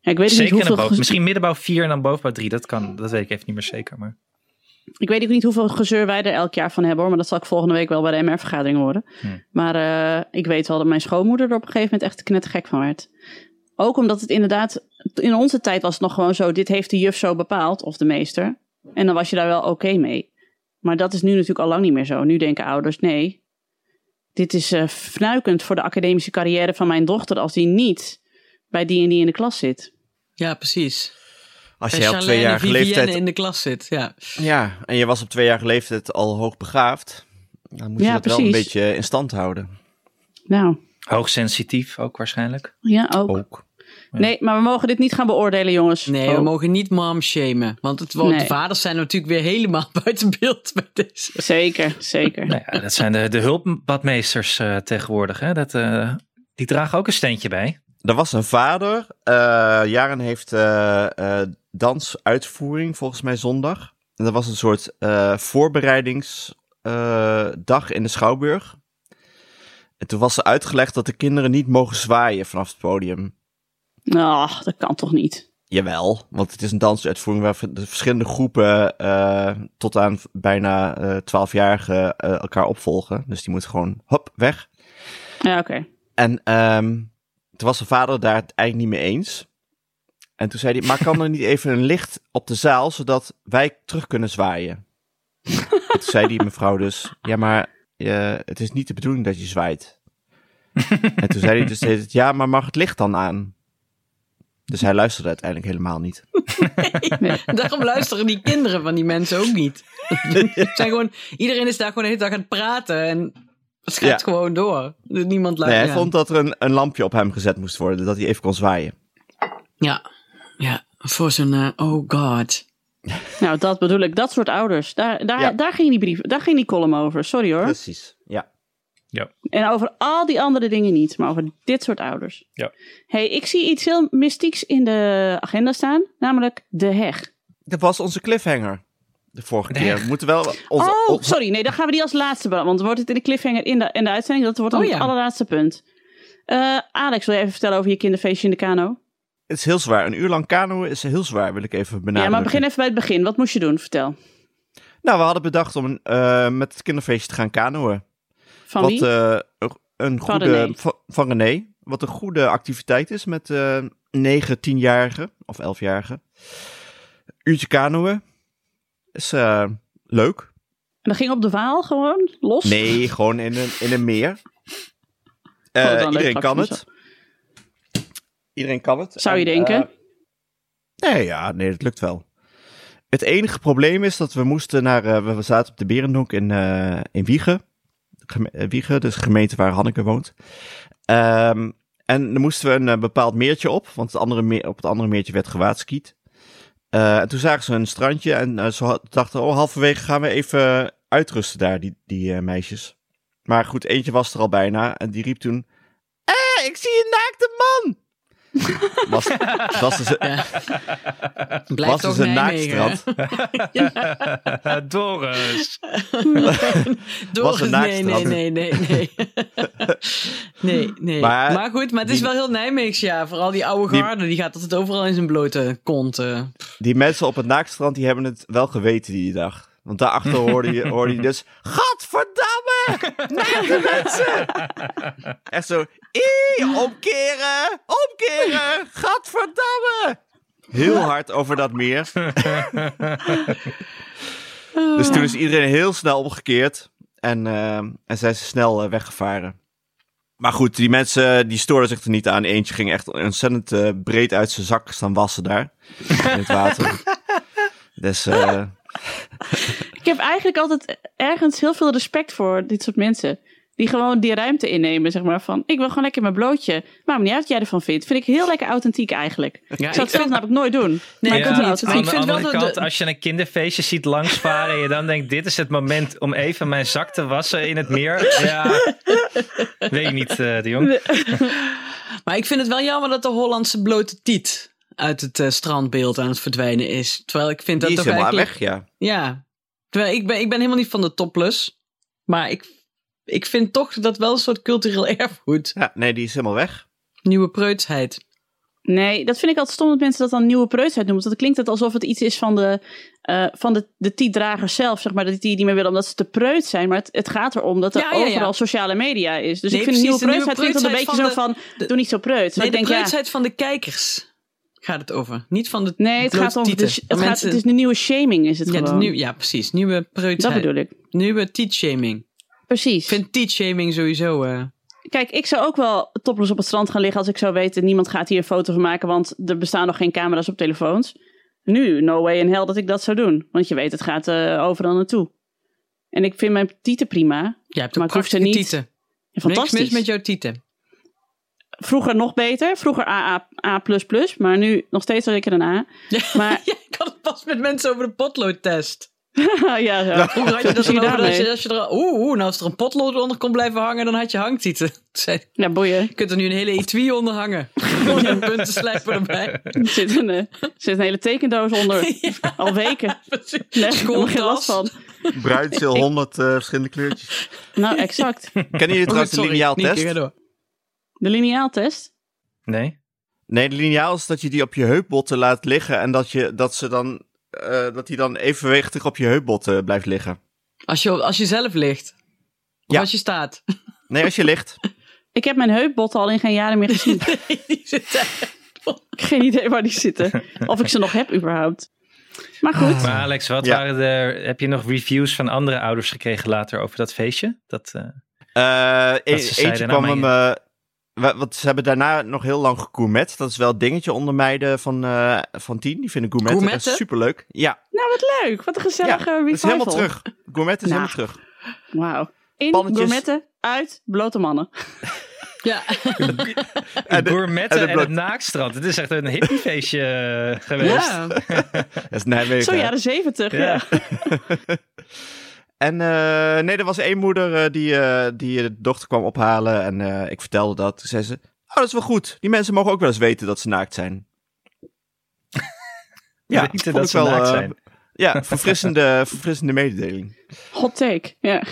[SPEAKER 4] Ja, ik weet ook niet
[SPEAKER 2] Zeker in de
[SPEAKER 4] hoeveel,
[SPEAKER 2] boven.
[SPEAKER 4] gez-
[SPEAKER 2] Misschien middenbouw vier en dan bovenbouw drie. Dat kan. Dat weet ik even niet meer zeker. Maar
[SPEAKER 4] ik weet ook niet hoeveel gezeur wij er elk jaar van hebben hoor. Maar dat zal ik volgende week wel bij de MR-vergadering horen.
[SPEAKER 2] Hm.
[SPEAKER 4] Maar eh, ik weet wel dat mijn schoonmoeder er op een gegeven moment echt knettergek van werd. Ook omdat het inderdaad, in onze tijd was het nog gewoon zo, dit heeft de juf zo bepaald, of de meester. En dan was je daar wel oké mee. Maar dat is nu natuurlijk al lang niet meer zo. Nu denken ouders, nee, dit is eh fnuikend voor de academische carrière van mijn dochter als die niet bij die en die in de klas zit.
[SPEAKER 5] Ja, precies.
[SPEAKER 3] Als
[SPEAKER 5] Als
[SPEAKER 3] jij op tweejarige leeftijd...
[SPEAKER 5] in de klas zit, ja.
[SPEAKER 3] Ja, en je was op tweejarige leeftijd al hoogbegaafd. Dan moet je
[SPEAKER 4] Ja,
[SPEAKER 3] dat wel een
[SPEAKER 4] precies.
[SPEAKER 3] beetje in stand houden.
[SPEAKER 4] Nou,
[SPEAKER 2] hoogsensitief ook waarschijnlijk.
[SPEAKER 4] ja ook.
[SPEAKER 3] Ook.
[SPEAKER 4] Nee, maar we mogen dit niet gaan beoordelen, jongens.
[SPEAKER 5] Nee, we
[SPEAKER 4] Oh.
[SPEAKER 5] mogen niet mom shamen. Want het, want
[SPEAKER 4] Nee.
[SPEAKER 5] de vaders zijn natuurlijk weer helemaal buiten beeld bij deze.
[SPEAKER 4] Zeker, zeker.
[SPEAKER 2] Nou ja, dat zijn de, de hulpbadmeesters eh, tegenwoordig. Hè? Dat, eh, die dragen ook een steentje bij.
[SPEAKER 3] Er was een vader. eh Jaren heeft eh, eh, dansuitvoering volgens mij zondag. En dat was een soort eh, voorbereidingsdag in de Schouwburg. En toen was er uitgelegd dat de kinderen niet mogen zwaaien vanaf het podium.
[SPEAKER 4] Ach, Ah, dat kan toch niet?
[SPEAKER 3] Jawel, want het is een dansuitvoering waar de verschillende groepen eh, tot aan bijna eh 12-jarigen eh, elkaar opvolgen. Dus die moet gewoon hop, weg.
[SPEAKER 4] Ja, oké.
[SPEAKER 3] En ehm toen was zijn vader daar het eigenlijk niet mee eens. En toen zei hij, maar kan er niet even een licht op de zaal, zodat wij terug kunnen zwaaien? Toen zei die mevrouw dus, ja, maar eh, het is niet de bedoeling dat je zwaait. en toen zei hij dus, de hele tijd, ja, maar mag het licht dan aan? Dus hij luisterde uiteindelijk helemaal niet.
[SPEAKER 5] Daarom luisteren die kinderen van die mensen ook niet. Het zijn gewoon, iedereen is daar gewoon de hele dag aan het praten en het gaat
[SPEAKER 3] Ja.
[SPEAKER 5] gewoon door. Dus Niemand
[SPEAKER 3] Nee, hij
[SPEAKER 5] luistert. ja.
[SPEAKER 3] vond dat er een, een lampje op hem gezet moest worden, dat hij even kon zwaaien.
[SPEAKER 5] ja. ja, voor zo'n eh, oh god.
[SPEAKER 4] Nou, dat bedoel ik. Dat soort ouders. Daar, daar,
[SPEAKER 3] Ja.
[SPEAKER 4] daar ging die brief, daar ging die column over. Sorry hoor.
[SPEAKER 5] Dus-
[SPEAKER 3] Precies, ja.
[SPEAKER 4] En over al die andere dingen niet, maar over dit soort ouders.
[SPEAKER 2] Ja.
[SPEAKER 4] hey, ik zie iets heel mystieks in de agenda staan, namelijk de heg.
[SPEAKER 3] Dat was onze cliffhanger de vorige
[SPEAKER 2] De
[SPEAKER 3] keer.
[SPEAKER 2] heg.
[SPEAKER 3] We moeten wel onze,
[SPEAKER 4] oh,
[SPEAKER 3] onze-
[SPEAKER 4] sorry. Nee, dan gaan we die als laatste behandelen. Want wordt het in de cliffhanger in de, in de uitzending? Dat wordt dan
[SPEAKER 5] Oh, ja.
[SPEAKER 4] het allerlaatste punt. Eh, Alex, wil je even vertellen over je kinderfeestje in de kano?
[SPEAKER 3] Het is heel zwaar. Een uur lang kanoën is heel zwaar, wil ik even benadrukken.
[SPEAKER 4] ja, maar begin even bij het begin. Wat moest je doen? Vertel.
[SPEAKER 3] Nou, we hadden bedacht om eh, met het kinderfeestje te gaan kanoën.
[SPEAKER 4] Van
[SPEAKER 3] wat
[SPEAKER 4] wie?
[SPEAKER 3] eh, een- een
[SPEAKER 4] Van
[SPEAKER 3] goede
[SPEAKER 4] René.
[SPEAKER 3] va- van René, wat een goede activiteit is met eh 9, 10-jarigen of 11-jarigen. Uurtje kanoën. Is eh, leuk.
[SPEAKER 4] En dat ging op de Waal gewoon los?
[SPEAKER 3] Nee, gewoon in een, in een meer. Eh,
[SPEAKER 4] dan Oh, leuk
[SPEAKER 3] iedereen
[SPEAKER 4] vak
[SPEAKER 3] kan
[SPEAKER 4] van
[SPEAKER 3] het. Iedereen kan het.
[SPEAKER 4] Zou je
[SPEAKER 5] Eh,
[SPEAKER 3] En,
[SPEAKER 4] denken?
[SPEAKER 3] eh, nee, ja, nee, dat lukt wel. Het enige probleem is dat we moesten naar... eh, we- we zaten op de Berendonk in, eh, in Wiegen. Geme- eh, Wiegen, dus de gemeente waar Hanneke woont. Ehm, en dan moesten we een eh, bepaald meertje op. Want het andere meer, op het andere meertje werd gewaadskiet. Eh, en toen zagen ze een strandje. En eh, ze had- dachten, oh, halverwege gaan we even uitrusten daar, die, die eh, meisjes. Maar goed, eentje was er al bijna. En die riep toen... Eh, ik zie een naakte man! Was, was dus,
[SPEAKER 5] Ja.
[SPEAKER 3] was
[SPEAKER 5] Blijft
[SPEAKER 3] dus
[SPEAKER 5] toch
[SPEAKER 3] een
[SPEAKER 5] Nijmegen.
[SPEAKER 3] naakstrand.
[SPEAKER 2] Doris.
[SPEAKER 5] Door
[SPEAKER 3] Was een
[SPEAKER 5] nee, nee,
[SPEAKER 3] naaktstrand.
[SPEAKER 5] nee, nee, nee. nee, nee.
[SPEAKER 3] Maar-
[SPEAKER 5] Maar, goed, maar het is
[SPEAKER 3] die-
[SPEAKER 5] wel heel Nijmeegs, ja. Vooral die oude
[SPEAKER 3] Die-
[SPEAKER 5] garde, die gaat altijd overal in zijn blote kont. eh.
[SPEAKER 3] Die mensen op het naakstrand, die hebben het wel geweten die dag. Want daarachter hoorde je, hoorde je dus... Gadverdamme! Naakte mensen! Echt zo... "Ie, omkeren! Omkeren! Gadverdamme! Heel hard over dat meer. dus toen is iedereen heel snel omgekeerd. En, eh, en zijn ze snel eh, weggevaren. Maar goed, die mensen die stoorden zich er niet aan. Eentje ging echt ontzettend eh, breed uit zijn zak staan wassen daar. In het water. Dus eh,
[SPEAKER 4] Ik heb eigenlijk altijd ergens heel veel respect voor dit soort mensen. Die gewoon die ruimte innemen, zeg maar. Van, ik wil gewoon lekker mijn blootje. Maakt me niet uit wat jij ervan vindt. Vind ik heel lekker authentiek eigenlijk.
[SPEAKER 5] Ja,
[SPEAKER 4] ik
[SPEAKER 5] ik
[SPEAKER 4] zou het zelf namelijk nooit doen.
[SPEAKER 5] Nee,
[SPEAKER 4] maar
[SPEAKER 5] ik
[SPEAKER 4] ik vind
[SPEAKER 5] niet.
[SPEAKER 4] het
[SPEAKER 5] Maar
[SPEAKER 2] Aan
[SPEAKER 4] authentiek.
[SPEAKER 5] ik
[SPEAKER 2] de
[SPEAKER 5] vind wel
[SPEAKER 2] andere
[SPEAKER 5] dat de-
[SPEAKER 2] kant, als je een kinderfeestje ziet langsvaren en je dan denkt, dit is het moment om even mijn zak te wassen in het meer. Ja, weet ik niet, eh, de jong.
[SPEAKER 5] Maar ik vind het wel jammer dat de Hollandse blote tiet uit het eh, strandbeeld aan het verdwijnen is. Terwijl ik vind dat
[SPEAKER 3] die is
[SPEAKER 5] toch
[SPEAKER 3] helemaal
[SPEAKER 5] eigenlijk...
[SPEAKER 3] weg, ja.
[SPEAKER 5] Ja. Terwijl ik ben, ik ben helemaal niet van de topless. Maar ik, ik vind toch dat wel een soort cultureel erfgoed.
[SPEAKER 3] ja. Nee, die is helemaal weg.
[SPEAKER 5] Nieuwe preutsheid.
[SPEAKER 4] Nee, dat vind ik altijd stom dat mensen dat dan nieuwe preutsheid noemen. Want dan klinkt het alsof het iets is van de, eh van de, de tietdragers zelf, zeg maar. Dat die het niet meer willen omdat ze te preut zijn. Maar het, het gaat erom dat er
[SPEAKER 5] Ja, ja, ja.
[SPEAKER 4] overal sociale media is. Dus
[SPEAKER 5] Nee,
[SPEAKER 4] ik vind nieuwe
[SPEAKER 5] precies, de nieuwe
[SPEAKER 4] preutsheid klinkt dan een beetje zo
[SPEAKER 5] preutsheid
[SPEAKER 4] van,
[SPEAKER 5] de-
[SPEAKER 4] doe niet zo preut. Maar
[SPEAKER 5] Nee,
[SPEAKER 4] ik
[SPEAKER 5] de
[SPEAKER 4] denk, ja,
[SPEAKER 5] preutsheid van de kijkers gaat het over. Niet van de
[SPEAKER 4] nee, het
[SPEAKER 5] blote
[SPEAKER 4] gaat om, de,
[SPEAKER 5] tieten.
[SPEAKER 4] het,
[SPEAKER 5] Van
[SPEAKER 4] gaat,
[SPEAKER 5] mensen-
[SPEAKER 4] het is de nieuwe shaming is het
[SPEAKER 5] ja, de
[SPEAKER 4] gewoon.
[SPEAKER 5] nieuw- ja, precies. Nieuwe
[SPEAKER 4] dat
[SPEAKER 5] preutsheid.
[SPEAKER 4] bedoel ik.
[SPEAKER 5] Nieuwe teetshaming.
[SPEAKER 4] Precies.
[SPEAKER 5] Ik vind teetshaming sowieso... eh,
[SPEAKER 4] Kijk, ik zou ook wel topless op het strand gaan liggen als ik zou weten... niemand gaat hier een foto van maken, want er bestaan nog geen camera's op telefoons. Nu, no way in hell dat ik dat zou doen. Want je weet, het gaat eh, overal naartoe. En ik vind mijn tieten prima.
[SPEAKER 5] jij hebt
[SPEAKER 4] Maar
[SPEAKER 5] ook
[SPEAKER 4] ik hoef ze
[SPEAKER 5] prachtige
[SPEAKER 4] niet-
[SPEAKER 5] tieten.
[SPEAKER 4] Ja,
[SPEAKER 5] Niks
[SPEAKER 4] Fantastisch.
[SPEAKER 5] mis met jouw tieten.
[SPEAKER 4] Vroeger nog beter. Vroeger AA, A++, maar nu nog steeds wel lekker een A.
[SPEAKER 5] Ja.
[SPEAKER 4] Maar
[SPEAKER 5] Ja, ik had het pas met mensen over de potloodtest.
[SPEAKER 4] ja, zo.
[SPEAKER 5] Vroeger had je dat
[SPEAKER 4] Zie je
[SPEAKER 5] dan over dat
[SPEAKER 4] daarmee?
[SPEAKER 5] je, als je er... Oeh, oeh, nou als er een potlood onder kon blijven hangen, dan had je hangtieten. Toen zei ik,
[SPEAKER 4] Ja, boeien.
[SPEAKER 5] Je kunt er nu een hele etui onder hangen. Gewoon een puntenslijper erbij.
[SPEAKER 4] Er zit een, eh, er zit een hele tekendoos onder. Al weken. Nee, ik heb er geen last van.
[SPEAKER 3] Bruidsel, 100 eh, verschillende kleurtjes.
[SPEAKER 4] Nou, exact.
[SPEAKER 3] Kennen jullie trouwens de
[SPEAKER 5] Nee,
[SPEAKER 3] lineaaltest?
[SPEAKER 5] door.
[SPEAKER 4] De lineaaltest.
[SPEAKER 2] Nee?
[SPEAKER 3] Nee, de lineaal is dat je die op je heupbotten laat liggen en dat, je, dat, ze dan, eh, dat die dan evenwichtig op je heupbotten eh, blijft liggen.
[SPEAKER 5] Als je, als je zelf ligt. Of
[SPEAKER 3] Ja.
[SPEAKER 5] als je staat.
[SPEAKER 3] Nee, als je ligt.
[SPEAKER 4] Ik heb mijn heupbotten al in geen jaren meer gezien.
[SPEAKER 5] Die zit daar.
[SPEAKER 4] Geen idee waar die zitten. Of ik ze nog heb überhaupt. Maar goed,
[SPEAKER 3] Ah.
[SPEAKER 2] Maar Alex, wat
[SPEAKER 3] Ja.
[SPEAKER 2] waren de, heb je nog reviews van andere ouders gekregen later over dat feestje? Dat, eh,
[SPEAKER 3] Eh, e-
[SPEAKER 2] Dat ze zeiden,
[SPEAKER 3] eentje
[SPEAKER 2] nou,
[SPEAKER 3] kwam hem. eh, wa- want ze hebben daarna nog heel lang gegourmet. Dat is wel het dingetje onder meiden van, eh, van tien. Die vinden gourmetten,
[SPEAKER 5] Gourmetten?
[SPEAKER 3] echt superleuk. Ja,
[SPEAKER 4] nou wat leuk. Wat een
[SPEAKER 3] ja.
[SPEAKER 4] gezellige revival.
[SPEAKER 3] het is helemaal terug. Gourmet is
[SPEAKER 4] Nou.
[SPEAKER 3] helemaal terug.
[SPEAKER 4] Wauw. In
[SPEAKER 3] Pannetjes.
[SPEAKER 4] gourmetten, uit blote mannen.
[SPEAKER 5] Ja,
[SPEAKER 3] En de-
[SPEAKER 2] gourmetten
[SPEAKER 3] en
[SPEAKER 2] en,
[SPEAKER 3] de blok-
[SPEAKER 2] het naakstrand. Het is echt een hippiefeestje eh, geweest.
[SPEAKER 5] ja.
[SPEAKER 3] Dat is Nijmegen.
[SPEAKER 4] Zo jaren zeventig. Ja.
[SPEAKER 2] Ja.
[SPEAKER 3] En eh, nee, er was één moeder eh, die, eh, die de dochter kwam ophalen. En eh, ik vertelde dat. Toen zei ze, oh, dat is wel goed. Die mensen mogen ook wel eens weten dat ze naakt zijn.
[SPEAKER 2] Weten
[SPEAKER 3] vond
[SPEAKER 2] dat
[SPEAKER 3] ik
[SPEAKER 2] ze naakt
[SPEAKER 3] eh,
[SPEAKER 2] zijn.
[SPEAKER 3] ja, verfrissende, verfrissende mededeling.
[SPEAKER 4] Hot take. Ja.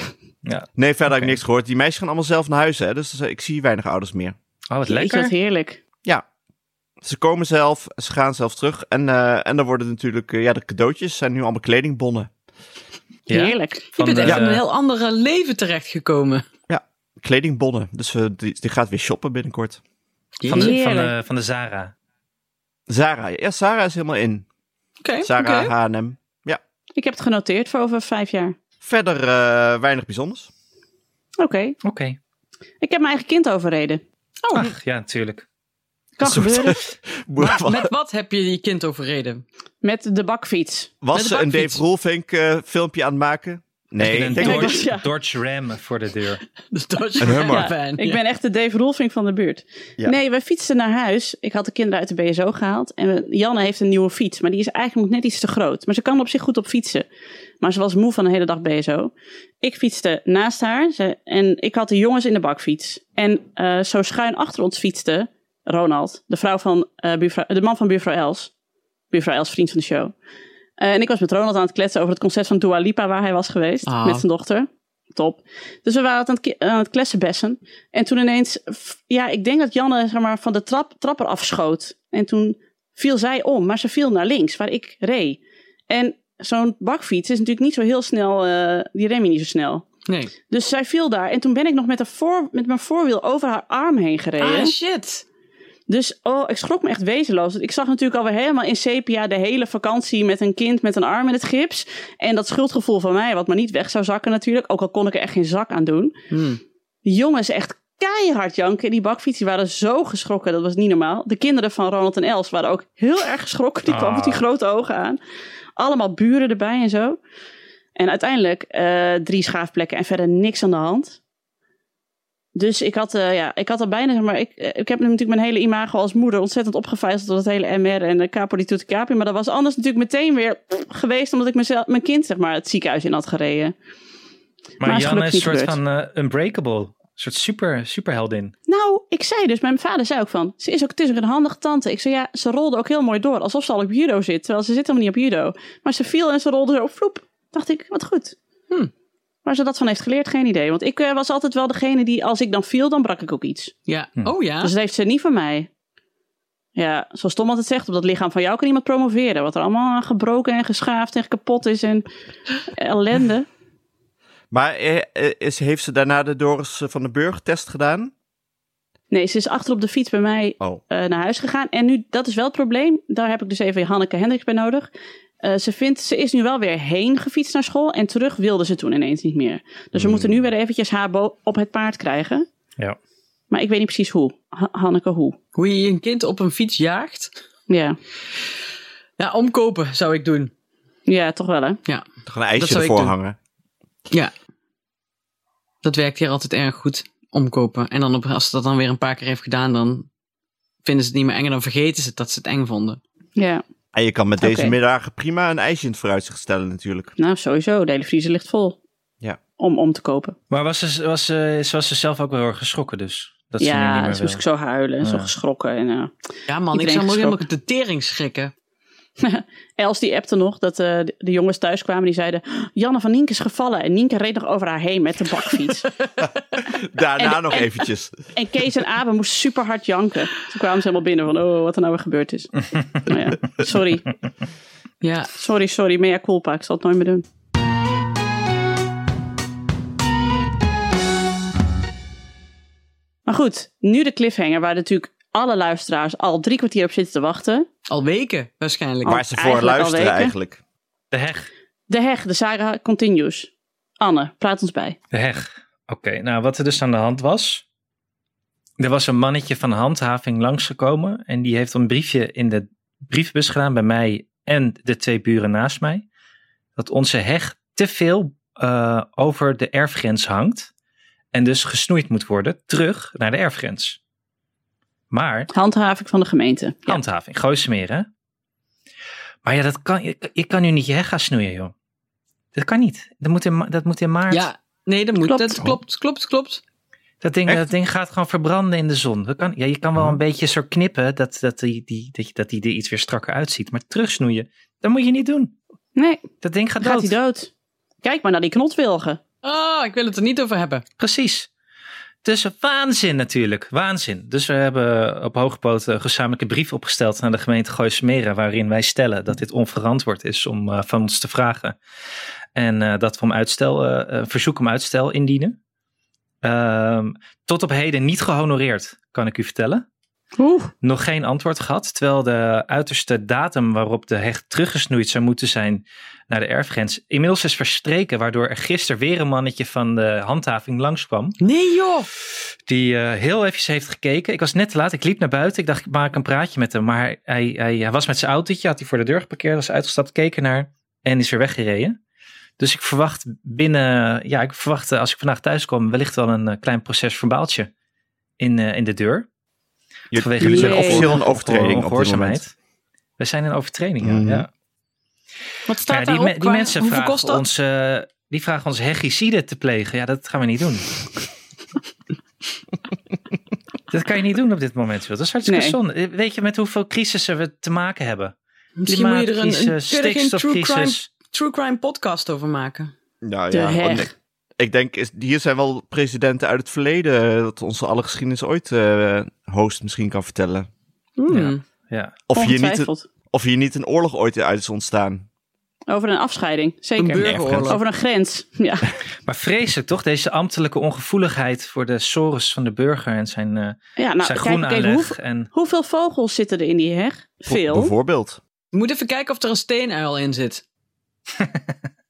[SPEAKER 2] Ja.
[SPEAKER 3] Nee, verder heb
[SPEAKER 2] Oké.
[SPEAKER 3] ik niks gehoord. Die meisjes gaan allemaal zelf naar huis, hè. Dus eh, ik zie weinig ouders meer.
[SPEAKER 2] Oh, wat
[SPEAKER 4] Jeetje, wat
[SPEAKER 2] lekker.
[SPEAKER 4] heerlijk.
[SPEAKER 3] Ja. Ze komen zelf, ze gaan zelf terug. En, eh, en dan worden natuurlijk, eh, ja, de cadeautjes zijn nu allemaal kledingbonnen.
[SPEAKER 2] Ja.
[SPEAKER 4] Heerlijk.
[SPEAKER 5] Je
[SPEAKER 2] Van,
[SPEAKER 5] bent echt
[SPEAKER 2] eh,
[SPEAKER 5] in een heel ander leven terechtgekomen.
[SPEAKER 3] Kledingbonnen. Dus eh, die, die gaat weer shoppen binnenkort.
[SPEAKER 2] van, de, van, de,
[SPEAKER 4] Heerlijk.
[SPEAKER 2] van de Zara.
[SPEAKER 3] Zara. Ja, Zara is helemaal in.
[SPEAKER 5] Oké,
[SPEAKER 3] Zara
[SPEAKER 5] oké.
[SPEAKER 3] H&M.
[SPEAKER 4] Ik heb het genoteerd voor over vijf jaar.
[SPEAKER 3] Verder eh, weinig bijzonders.
[SPEAKER 4] Oké.
[SPEAKER 2] Oké.
[SPEAKER 4] Ik heb mijn eigen kind overreden.
[SPEAKER 5] Oh.
[SPEAKER 2] Ach, ja, natuurlijk.
[SPEAKER 4] Kan
[SPEAKER 3] Een soort-
[SPEAKER 4] gebeuren.
[SPEAKER 3] Wa- wa-
[SPEAKER 5] Met wat heb je je kind overreden?
[SPEAKER 4] Met de bakfiets.
[SPEAKER 3] Was
[SPEAKER 5] met de
[SPEAKER 3] ze een
[SPEAKER 5] bakfiets.
[SPEAKER 3] Dave Roelvink eh, filmpje aan het maken? Nee,
[SPEAKER 2] en
[SPEAKER 3] ik
[SPEAKER 2] een
[SPEAKER 3] denk dat
[SPEAKER 4] door-
[SPEAKER 2] Dodge,
[SPEAKER 3] ik-
[SPEAKER 4] Ja.
[SPEAKER 2] Dodge Ram voor de deur.
[SPEAKER 5] Dus dat je
[SPEAKER 3] Een Hummer.
[SPEAKER 5] fan. Ja.
[SPEAKER 4] Ik ben echt de Dave Rolfing van de buurt.
[SPEAKER 3] Ja.
[SPEAKER 4] Nee, we fietsten naar huis. Ik had de kinderen uit de BSO gehaald. En we- Janne heeft een nieuwe fiets. Maar die is eigenlijk nog net iets te groot. Maar ze kan op zich goed op fietsen. Maar ze was moe van een hele dag BSO. Ik fietste naast haar. Ze, en ik had de jongens in de bakfiets. En eh, zo schuin achter ons fietste Ronald. De, vrouw van, eh, buurvrouw- de man van buurvrouw Els. Buurvrouw Els, vriend van de show. Eh, en ik was met Ronald aan het kletsen over het concert van Dua Lipa waar hij was geweest.
[SPEAKER 5] Ah.
[SPEAKER 4] Met zijn dochter. Top. Dus we waren het aan het, ki- aan het kletsen bessen. En toen ineens, f- ja, ik denk dat Janne zeg maar, van de trap, trapper afschoot. En toen viel zij om, maar ze viel naar links, waar ik reed. En zo'n bakfiets is natuurlijk niet zo heel snel, eh, die rem je niet zo snel.
[SPEAKER 5] Nee.
[SPEAKER 4] Dus zij viel daar. En toen ben ik nog met, haar voor, met mijn voorwiel over haar arm heen gereden.
[SPEAKER 5] Ah, shit.
[SPEAKER 4] Dus oh, ik schrok me echt wezenloos. Want Ik zag natuurlijk alweer helemaal in sepia de hele vakantie met een kind met een arm in het gips. En dat schuldgevoel van mij, wat maar niet weg zou zakken natuurlijk. Ook al kon ik er echt geen zak aan doen.
[SPEAKER 5] Hm.
[SPEAKER 4] Die jongens echt keihard janken. En die bakfiets die waren zo geschrokken. Dat was niet normaal. De kinderen van Ronald en Els waren ook heel erg geschrokken. Die kwamen
[SPEAKER 2] Ah.
[SPEAKER 4] met die grote ogen aan. Allemaal buren erbij en zo. En uiteindelijk eh, drie schaafplekken en verder niks aan de hand. Dus ik had, eh, ja, ik had al bijna, zeg maar, ik, eh, ik heb natuurlijk mijn hele imago als moeder ontzettend opgevijzeld door dat hele MR en de Capo di Tutti Capi. Maar dat was anders natuurlijk meteen weer pff, geweest omdat ik mezelf, mijn kind zeg maar, het ziekenhuis in had gereden.
[SPEAKER 2] Maar,
[SPEAKER 4] Maar is
[SPEAKER 2] Jan
[SPEAKER 4] gelukkig
[SPEAKER 2] is een soort
[SPEAKER 4] niet
[SPEAKER 2] van eh, unbreakable. Een soort super, superheldin.
[SPEAKER 4] Nou, ik zei dus, mijn vader zei ook van, ze is ook, het is ook een handige tante. Ik zei, ja, ze rolde ook heel mooi door, alsof ze al op judo zit, terwijl ze zit helemaal niet op judo. Maar ze viel en ze rolde zo, vloep. Dacht ik, wat goed.
[SPEAKER 5] Hmm.
[SPEAKER 4] Waar ze dat van heeft geleerd, geen idee. Want ik eh, was altijd wel degene die, als ik dan viel, dan brak ik ook iets.
[SPEAKER 5] Ja.
[SPEAKER 2] Hm.
[SPEAKER 5] Oh ja.
[SPEAKER 4] Dus dat heeft ze niet van mij. Ja, zoals Tom altijd zegt, op dat lichaam van jou kan iemand promoveren. Wat er allemaal aan gebroken en geschaafd en kapot is en ellende.
[SPEAKER 3] Maar eh, eh, is, heeft ze daarna de Doris van den Burg test gedaan?
[SPEAKER 4] Nee, ze is achter op de fiets bij mij
[SPEAKER 3] Oh.
[SPEAKER 4] eh, naar huis gegaan. En nu, dat is wel het probleem. Daar heb ik dus even Hanneke Hendricks bij nodig. Eh, ze, vindt, ze is nu wel weer heen gefietst naar school. En terug wilde ze toen ineens niet meer. Dus
[SPEAKER 2] Hmm.
[SPEAKER 4] we moeten nu weer eventjes haar bo- op het paard krijgen.
[SPEAKER 2] Ja.
[SPEAKER 4] Maar ik weet niet precies hoe. Ha- Hanneke, hoe?
[SPEAKER 5] Hoe je een kind op een fiets jaagt.
[SPEAKER 4] Ja.
[SPEAKER 5] Ja, omkopen zou ik doen.
[SPEAKER 4] ja, toch wel hè?
[SPEAKER 3] Toch een
[SPEAKER 5] Dat
[SPEAKER 3] ijsje
[SPEAKER 5] zou ik
[SPEAKER 3] ervoor
[SPEAKER 5] doen.
[SPEAKER 3] hangen.
[SPEAKER 5] Ja. Dat werkt hier altijd erg goed. Omkopen. En dan op, als ze dat dan weer een paar keer heeft gedaan, dan vinden ze het niet meer eng. En dan vergeten ze het dat ze het eng vonden.
[SPEAKER 4] Ja.
[SPEAKER 3] En je kan met deze
[SPEAKER 4] Oké.
[SPEAKER 3] middag prima een ijsje in het vooruitzicht stellen natuurlijk.
[SPEAKER 4] Nou, sowieso. De hele vriezer ligt vol.
[SPEAKER 3] Ja.
[SPEAKER 4] Om om te kopen.
[SPEAKER 2] Maar was ze, was, ze, ze was ze zelf ook wel heel erg geschrokken dus? Dat ze nu niet
[SPEAKER 4] ja,
[SPEAKER 2] meer
[SPEAKER 4] dus moest ik
[SPEAKER 2] wil.
[SPEAKER 4] zo huilen. en Zo
[SPEAKER 2] Ja.
[SPEAKER 4] geschrokken. En, eh,
[SPEAKER 5] Ja man, ik
[SPEAKER 4] Iedereen
[SPEAKER 5] zou me ook helemaal
[SPEAKER 4] geschrokken.
[SPEAKER 5] de tering schrikken.
[SPEAKER 4] Els die appte nog dat eh, de- de jongens thuis kwamen. Die zeiden, Janne van Nienke is gevallen. En Nienke reed nog over haar heen met de bakfiets.
[SPEAKER 3] Daarna
[SPEAKER 4] En-
[SPEAKER 3] nog
[SPEAKER 4] en-
[SPEAKER 3] eventjes.
[SPEAKER 4] En Kees en Abe moesten super hard janken. Toen kwamen ze helemaal binnen van, oh, wat er nou weer gebeurd is. nou ja, sorry.
[SPEAKER 5] Ja.
[SPEAKER 4] Sorry, sorry. Mea culpa. Ik zal het nooit meer doen. Maar goed, nu de cliffhanger waar natuurlijk alle luisteraars al drie kwartier op zitten te wachten.
[SPEAKER 5] Al weken waarschijnlijk.
[SPEAKER 4] Oh.
[SPEAKER 3] Waar ze voor
[SPEAKER 4] eigenlijk al
[SPEAKER 3] luisteren
[SPEAKER 4] weken.
[SPEAKER 3] eigenlijk.
[SPEAKER 2] De heg.
[SPEAKER 4] De heg, de saga continues. Anne, praat ons bij.
[SPEAKER 2] De heg. Oké, nou wat er dus aan de hand was. Er was een mannetje van handhaving langsgekomen. En die heeft een briefje in de brievenbus gedaan bij mij en de twee buren naast mij. Dat onze heg te veel eh, over de erfgrens hangt. En dus gesnoeid moet worden terug naar de erfgrens. Maar
[SPEAKER 4] Handhaving van de gemeente. Ja.
[SPEAKER 2] Handhaving, gooismeer, hè? Maar ja, dat kan, je, je kan nu niet je heg gaan snoeien, joh. Dat kan niet. Dat moet in, ma- dat moet in maart.
[SPEAKER 5] Ja, nee, dat moet.
[SPEAKER 4] Klopt.
[SPEAKER 5] Dat klopt, klopt, klopt.
[SPEAKER 2] dat, ding,
[SPEAKER 3] echt?
[SPEAKER 2] dat ding gaat gewoon verbranden in de zon. Dat kan, ja, je kan wel een beetje zo knippen dat, dat, die, die, dat, je- dat die er iets weer strakker uitziet. Maar terugsnoeien, dat moet je niet doen.
[SPEAKER 4] Nee,
[SPEAKER 2] Dat ding gaat
[SPEAKER 4] dan
[SPEAKER 2] dood.
[SPEAKER 4] gaat hij dood. Kijk maar naar die knotwilgen.
[SPEAKER 5] Ah, ik wil het er niet over hebben.
[SPEAKER 2] Precies. Dus waanzin natuurlijk, waanzin. Dus we hebben op hoge poot eh, een gezamenlijke brief opgesteld naar de gemeente Gooisemeren, waarin wij stellen dat dit onverantwoord is om eh, van ons te vragen. En eh, dat we om uitstel, eh, een verzoek om uitstel indienen. Ehm, tot op heden niet gehonoreerd, kan ik u vertellen.
[SPEAKER 4] Oeh.
[SPEAKER 2] Nog geen antwoord gehad, terwijl de uiterste datum waarop de heg teruggesnoeid zou moeten zijn naar de erfgrens inmiddels is verstreken, waardoor er gisteren weer een mannetje van de handhaving langskwam
[SPEAKER 5] Nee joh.
[SPEAKER 2] die eh, heel eventjes heeft gekeken. Ik was net te laat, ik liep naar buiten. Ik dacht, ik maak een praatje met hem. Maar hij, hij, hij was met zijn autootje, had hij voor de deur geparkeerd, was uitgestapt, keek ernaar en is weer weggereden. Dus ik verwacht binnen, ja, ik verwacht eh, als ik vandaag thuis kom, wellicht wel een eh, klein proces verbaaltje in, eh, in de deur.
[SPEAKER 3] Je-
[SPEAKER 2] Vanwege
[SPEAKER 3] jullie zijn
[SPEAKER 4] die
[SPEAKER 3] officieel een
[SPEAKER 2] onge-
[SPEAKER 3] overtreding op dit moment.
[SPEAKER 2] ongehoorzaamheid. We zijn in overtreding, ja.
[SPEAKER 3] Mhm.
[SPEAKER 2] ja.
[SPEAKER 5] Wat staat
[SPEAKER 2] Nou Ja, die,
[SPEAKER 5] daarop?
[SPEAKER 2] me- die
[SPEAKER 5] qua-
[SPEAKER 2] mensen
[SPEAKER 5] Hoeveel
[SPEAKER 2] vragen
[SPEAKER 5] kost dat?
[SPEAKER 2] ons, eh, die vragen ons hegicide te plegen. Ja, dat gaan we niet doen. dat kan je niet doen op dit moment, Wil. Dat is hartstikke
[SPEAKER 4] Nee.
[SPEAKER 2] zonde. Eh, Weet je met hoeveel crisissen we te maken hebben?
[SPEAKER 5] Misschien moet je er een, een,
[SPEAKER 2] Klimaatcrisis,
[SPEAKER 5] kun je er geen true crime,
[SPEAKER 2] stikstofcrisis.
[SPEAKER 5] true crime podcast over maken.
[SPEAKER 3] Nou
[SPEAKER 4] De
[SPEAKER 3] ja,
[SPEAKER 4] heg.
[SPEAKER 3] want ik, ik denk, is, hier zijn wel presidenten uit het verleden eh, dat onze alle geschiedenis ooit eh, host misschien kan vertellen.
[SPEAKER 5] Hmm.
[SPEAKER 2] Ja.
[SPEAKER 3] Of hier, niet,
[SPEAKER 4] Ongetwijfeld.
[SPEAKER 3] of hier niet een oorlog ooit uit is ontstaan.
[SPEAKER 4] Over een afscheiding,
[SPEAKER 5] Een
[SPEAKER 4] zeker.
[SPEAKER 5] burgeroorlog.
[SPEAKER 4] Over een grens. Ja.
[SPEAKER 2] Maar vreselijk toch, deze ambtelijke ongevoeligheid voor de sores van de burger en zijn, eh
[SPEAKER 4] ja nou,
[SPEAKER 2] zijn
[SPEAKER 4] kijk, kijk
[SPEAKER 2] groenaanleg.
[SPEAKER 4] hoeveel,
[SPEAKER 2] en,
[SPEAKER 4] hoeveel vogels zitten er in die heg? Veel.
[SPEAKER 3] Bijvoorbeeld.
[SPEAKER 5] Je moet even kijken of er een steenuil in zit.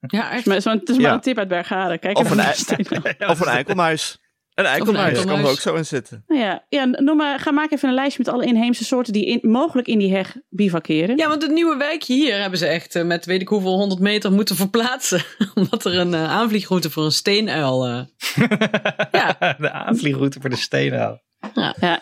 [SPEAKER 5] ja, echt.
[SPEAKER 4] Maar het is maar, het is maar
[SPEAKER 3] Ja.
[SPEAKER 4] een tip uit Bergharen. Kijk
[SPEAKER 3] Of een,
[SPEAKER 4] even naar
[SPEAKER 3] ei-
[SPEAKER 4] de stenen.
[SPEAKER 3] of een eikelmuis. Een eikelmuis kan er
[SPEAKER 5] eikelmuis.
[SPEAKER 3] ook zo in zitten.
[SPEAKER 4] Nou ja, ja, noem maar, ga maak even een lijstje met alle inheemse soorten die in, mogelijk in die heg bivakeren.
[SPEAKER 5] Ja, want het nieuwe wijkje hier hebben ze echt eh, met weet ik hoeveel honderd meter moeten verplaatsen. Omdat er een eh, aanvliegroute voor een steenuil... eh,
[SPEAKER 2] de aanvliegroute voor de steenhaal.
[SPEAKER 4] Ja.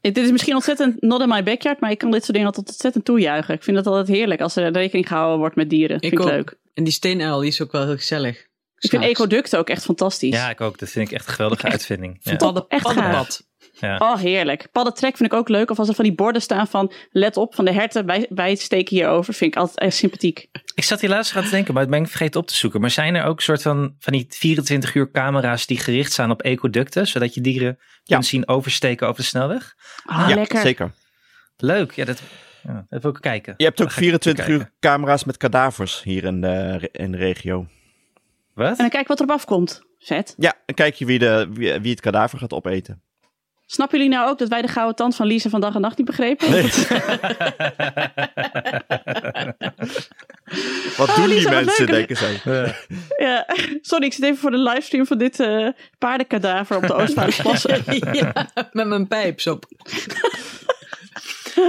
[SPEAKER 4] Dit is misschien ontzettend not in my backyard, maar ik kan dit soort dingen altijd ontzettend toejuichen. Ik vind het altijd heerlijk als er rekening gehouden wordt met dieren. vind ik
[SPEAKER 5] ook.
[SPEAKER 4] leuk.
[SPEAKER 5] En die steenuil die is ook wel heel gezellig.
[SPEAKER 4] Ik vind ecoducten ook echt fantastisch.
[SPEAKER 2] Ja, ik ook. Dat vind ik echt een geweldige uitvinding. Ja.
[SPEAKER 5] Padden,
[SPEAKER 4] echt gaaf.
[SPEAKER 5] paddenpad.
[SPEAKER 4] Oh, heerlijk. Paddentrek vind ik ook leuk. Of als er van die borden staan van let op van de herten, wij, wij steken hierover. Vind ik altijd echt sympathiek.
[SPEAKER 2] Ik zat hier laatst aan te denken, maar het ben ik vergeten op te zoeken. Maar zijn er ook soort van, van die 24 uur camera's die gericht zijn op ecoducten, zodat je dieren kunt zien oversteken over de snelweg?
[SPEAKER 4] Ah,
[SPEAKER 3] ja,
[SPEAKER 4] lekker.
[SPEAKER 3] zeker.
[SPEAKER 2] Leuk, ja, dat ja, even ook kijken.
[SPEAKER 3] Je hebt ook
[SPEAKER 2] Dan ga ik even
[SPEAKER 3] 24 uur
[SPEAKER 2] kijken.
[SPEAKER 3] camera's met kadavers hier in de, re- in de regio.
[SPEAKER 2] Wat?
[SPEAKER 4] En dan kijk wat erop afkomt. Vet.
[SPEAKER 3] Ja, dan kijk je wie, de, wie, wie het kadaver gaat opeten.
[SPEAKER 4] Snappen jullie nou ook dat wij de gouden tand van Lisa van dag en nacht niet begrepen?
[SPEAKER 3] Wat
[SPEAKER 4] Oh,
[SPEAKER 3] doen
[SPEAKER 4] Lisa,
[SPEAKER 3] die
[SPEAKER 4] wat
[SPEAKER 3] mensen,
[SPEAKER 4] leuk.
[SPEAKER 3] denken zij.
[SPEAKER 4] Ja, sorry, ik zit even voor de livestream van dit eh paardenkadaver op de Oostvaardersplassen.
[SPEAKER 5] ja, met mijn pijp zo.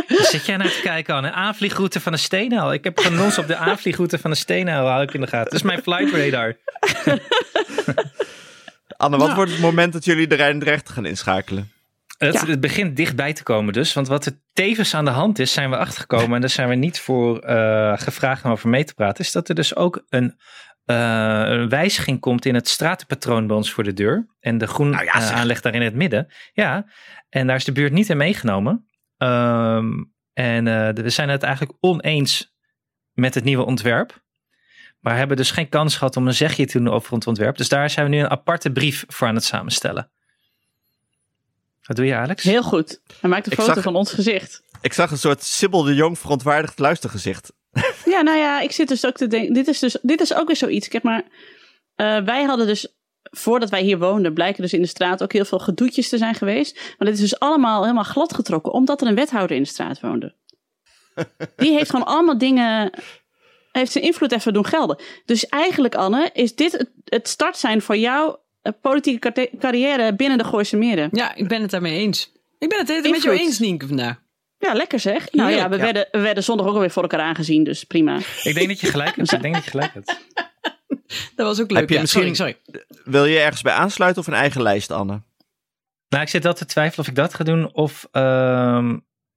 [SPEAKER 2] Zit jij naar te kijken aan een aanvliegroute van een steenhaal? Ik heb gewoon ons op de aanvliegroute van een steenhaal hou ik in de gaten. Dat is mijn flight radar.
[SPEAKER 3] Anne,
[SPEAKER 4] Nou.
[SPEAKER 3] wat wordt het moment dat jullie de Rijndrecht gaan inschakelen?
[SPEAKER 2] Het,
[SPEAKER 4] Ja.
[SPEAKER 2] het begint dichtbij te komen dus. Want wat er tevens aan de hand is, zijn we achtergekomen. En daar zijn we niet voor eh, gevraagd om over mee te praten. Is dat er dus ook een, eh, een wijziging komt in het stratenpatroon bij ons voor de deur. En de groen
[SPEAKER 3] Nou ja,
[SPEAKER 2] eh,
[SPEAKER 3] zeg.
[SPEAKER 2] aanleg daar in het midden. Ja, en daar is de buurt niet in meegenomen. Ehm, en eh, we zijn het eigenlijk oneens met het nieuwe ontwerp. Maar hebben dus geen kans gehad om een zegje te doen over het ontwerp. Dus daar zijn we nu een aparte brief voor aan het samenstellen. Wat doe je, Alex?
[SPEAKER 4] Heel goed. Hij maakt een
[SPEAKER 3] Ik
[SPEAKER 4] foto
[SPEAKER 3] zag-
[SPEAKER 4] van ons gezicht.
[SPEAKER 3] Ik zag een soort Sibyl de Jong verontwaardigd luistergezicht.
[SPEAKER 4] Ja, nou ja, ik zit dus ook te denken. Dit is dus dit is ook weer zoiets. Kijk maar, eh, wij hadden dus voordat wij hier woonden, blijken dus in de straat ook heel veel gedoetjes te zijn geweest. Maar dit is dus allemaal helemaal gladgetrokken, omdat er een wethouder in de straat woonde. Die heeft gewoon allemaal dingen, heeft zijn invloed even doen gelden. Dus eigenlijk, Anne, is dit het, het start zijn voor jouw eh, politieke karte- carrière binnen de Gooise Meren?
[SPEAKER 5] Ja, ik ben het daarmee eens. Ik ben het de hele tijd met jou
[SPEAKER 4] Invloed.
[SPEAKER 5] eens, Nienke, vandaag.
[SPEAKER 4] Ja, lekker zeg. Nou ja,
[SPEAKER 5] Heerlijk,
[SPEAKER 4] we,
[SPEAKER 5] ja.
[SPEAKER 4] Werden, we werden zondag ook alweer voor elkaar aangezien, dus prima.
[SPEAKER 2] Ik denk dat je gelijk hebt. Ik denk dat je gelijk hebt.
[SPEAKER 5] Dat was ook leuk.
[SPEAKER 3] Heb je
[SPEAKER 5] ja.
[SPEAKER 3] misschien-
[SPEAKER 5] Sorry, sorry.
[SPEAKER 3] Wil je ergens bij aansluiten of een eigen lijst, Anne?
[SPEAKER 2] Nou, ik zit wel te twijfelen of ik dat ga doen. Of ehm,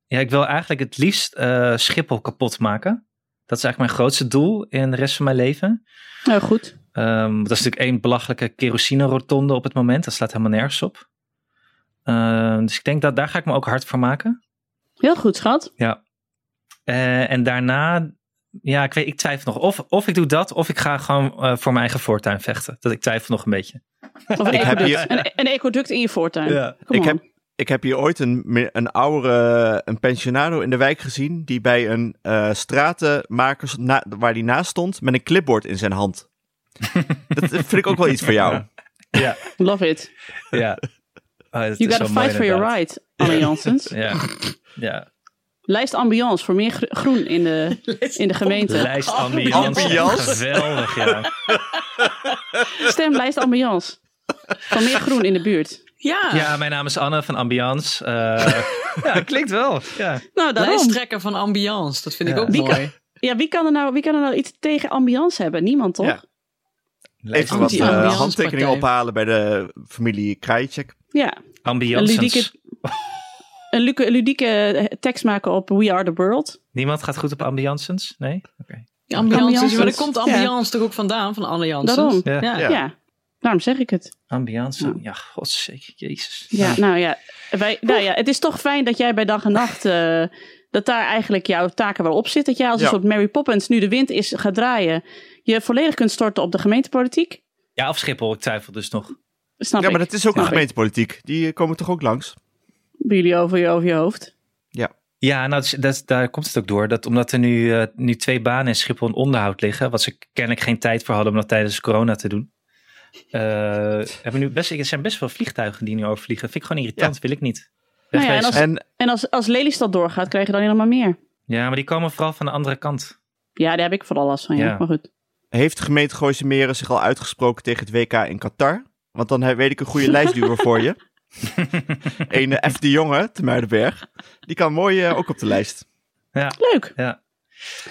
[SPEAKER 2] ja, ik wil eigenlijk het liefst eh, Schiphol kapot maken. Dat is eigenlijk mijn grootste doel in de rest van mijn leven.
[SPEAKER 4] Nou goed.
[SPEAKER 2] Ehm, dat is natuurlijk één belachelijke kerosine-rotonde op het moment. Dat slaat helemaal nergens op. Ehm, dus ik denk dat daar ga ik me ook hard voor maken.
[SPEAKER 4] Heel goed, schat.
[SPEAKER 2] Eh, en daarna, ja, ik, weet, ik twijfel nog. Of, of ik doe dat, of ik ga gewoon eh, voor mijn eigen voortuin vechten. Dat ik twijfel nog een beetje.
[SPEAKER 4] Of een,
[SPEAKER 3] Ik heb
[SPEAKER 4] ecoduct.
[SPEAKER 3] hier-
[SPEAKER 4] een, een ecoduct in je voortuin.
[SPEAKER 2] Ja.
[SPEAKER 4] Kom
[SPEAKER 3] Ik
[SPEAKER 4] op.
[SPEAKER 3] heb, ik heb hier ooit een, me- een oude een pensionado in de wijk gezien. die bij een eh stratenmaker na- waar die naast stond. met een clipboard in zijn hand. dat vind ik ook wel iets voor jou.
[SPEAKER 2] Ja,
[SPEAKER 4] Love it.
[SPEAKER 2] ja. Oh, dat
[SPEAKER 4] You
[SPEAKER 2] is
[SPEAKER 4] gotta
[SPEAKER 2] zo mooi
[SPEAKER 4] fight for your
[SPEAKER 2] inderdaad.
[SPEAKER 4] right, Anne Janssens.
[SPEAKER 2] Ja, ja.
[SPEAKER 4] Lijst ambiance voor meer gro- groen in de, in de gemeente.
[SPEAKER 2] Lijst ambiance.
[SPEAKER 3] Ambiance.
[SPEAKER 2] Geweldig, ja.
[SPEAKER 4] Stem lijst ambiance. Van meer groen in de buurt.
[SPEAKER 5] Ja,
[SPEAKER 2] Ja, mijn naam is Anne van Ambiance. Eh, ja, klinkt wel. Ja.
[SPEAKER 4] Nou, daarom.
[SPEAKER 5] lijsttrekker van ambiance. Dat vind ik
[SPEAKER 2] Ja.
[SPEAKER 5] ook
[SPEAKER 4] Wie
[SPEAKER 5] mooi.
[SPEAKER 4] kan, ja, wie kan, er nou, wie kan er nou iets tegen ambiance hebben? Niemand, toch?
[SPEAKER 3] Ja.
[SPEAKER 4] Ja.
[SPEAKER 2] Lijst
[SPEAKER 3] Even wat eh,
[SPEAKER 5] Anti-ambiance
[SPEAKER 3] handtekeningen
[SPEAKER 5] partij.
[SPEAKER 3] ophalen bij de familie Krajicek.
[SPEAKER 4] Een
[SPEAKER 2] ambiance.
[SPEAKER 4] ludieke, een luke- ludieke eh, tekst maken op We Are The World.
[SPEAKER 2] Niemand gaat goed op ambiances? Nee? Oké.
[SPEAKER 5] Ambiance.
[SPEAKER 4] Ambiance.
[SPEAKER 5] Maar daar komt
[SPEAKER 4] Ja.
[SPEAKER 5] ambiance toch ook vandaan, van Anne Janssens?
[SPEAKER 4] Daarom.
[SPEAKER 2] Ja.
[SPEAKER 5] Ja.
[SPEAKER 4] Ja. daarom zeg ik het.
[SPEAKER 2] Ambiance.
[SPEAKER 4] Ja.
[SPEAKER 2] Ja, godzeker. Jezus.
[SPEAKER 4] Ja, nou ja. Wij, nou ja, het is toch fijn dat jij bij dag en nacht... eh, dat daar eigenlijk jouw taken wel op zit. Dat jij als een
[SPEAKER 3] Ja.
[SPEAKER 4] soort Mary Poppins nu de wind is gaat draaien... je volledig kunt storten op de gemeentepolitiek.
[SPEAKER 2] Ja, of Schiphol. Ik twijfel dus nog.
[SPEAKER 4] Snap
[SPEAKER 3] Ja, maar
[SPEAKER 4] ik.
[SPEAKER 3] dat is ook de
[SPEAKER 4] Snap ik.
[SPEAKER 3] gemeentepolitiek. Die eh, komen toch ook langs?
[SPEAKER 4] Bij jullie over je, over je hoofd.
[SPEAKER 2] Ja, nou, dat, dat- daar komt het ook door. Dat omdat er nu, eh, nu twee banen in Schiphol in onderhoud liggen, wat ze kennelijk geen tijd voor hadden om dat tijdens corona te doen. Eh, hebben nu best, er zijn best veel vliegtuigen die nu overvliegen. Vind ik gewoon irritant, wil ik niet.
[SPEAKER 4] Nou ja, en
[SPEAKER 2] Wegwezen.
[SPEAKER 4] als-
[SPEAKER 3] En
[SPEAKER 4] En als, als Lelystad doorgaat, krijg je dan helemaal meer.
[SPEAKER 2] Ja, maar die komen vooral van de andere kant.
[SPEAKER 4] Ja, daar heb ik vooral last van. Ja.
[SPEAKER 2] Ja.
[SPEAKER 4] Maar goed.
[SPEAKER 3] heeft de gemeente Gooise Meren zich al uitgesproken tegen het WK in Qatar? Want dan he- weet ik een goede lijstduwer voor je. Een eh, F de Jonge te Muidenberg. Die kan mooi eh, ook op de lijst.
[SPEAKER 2] Ja,
[SPEAKER 4] Leuk.
[SPEAKER 2] ja.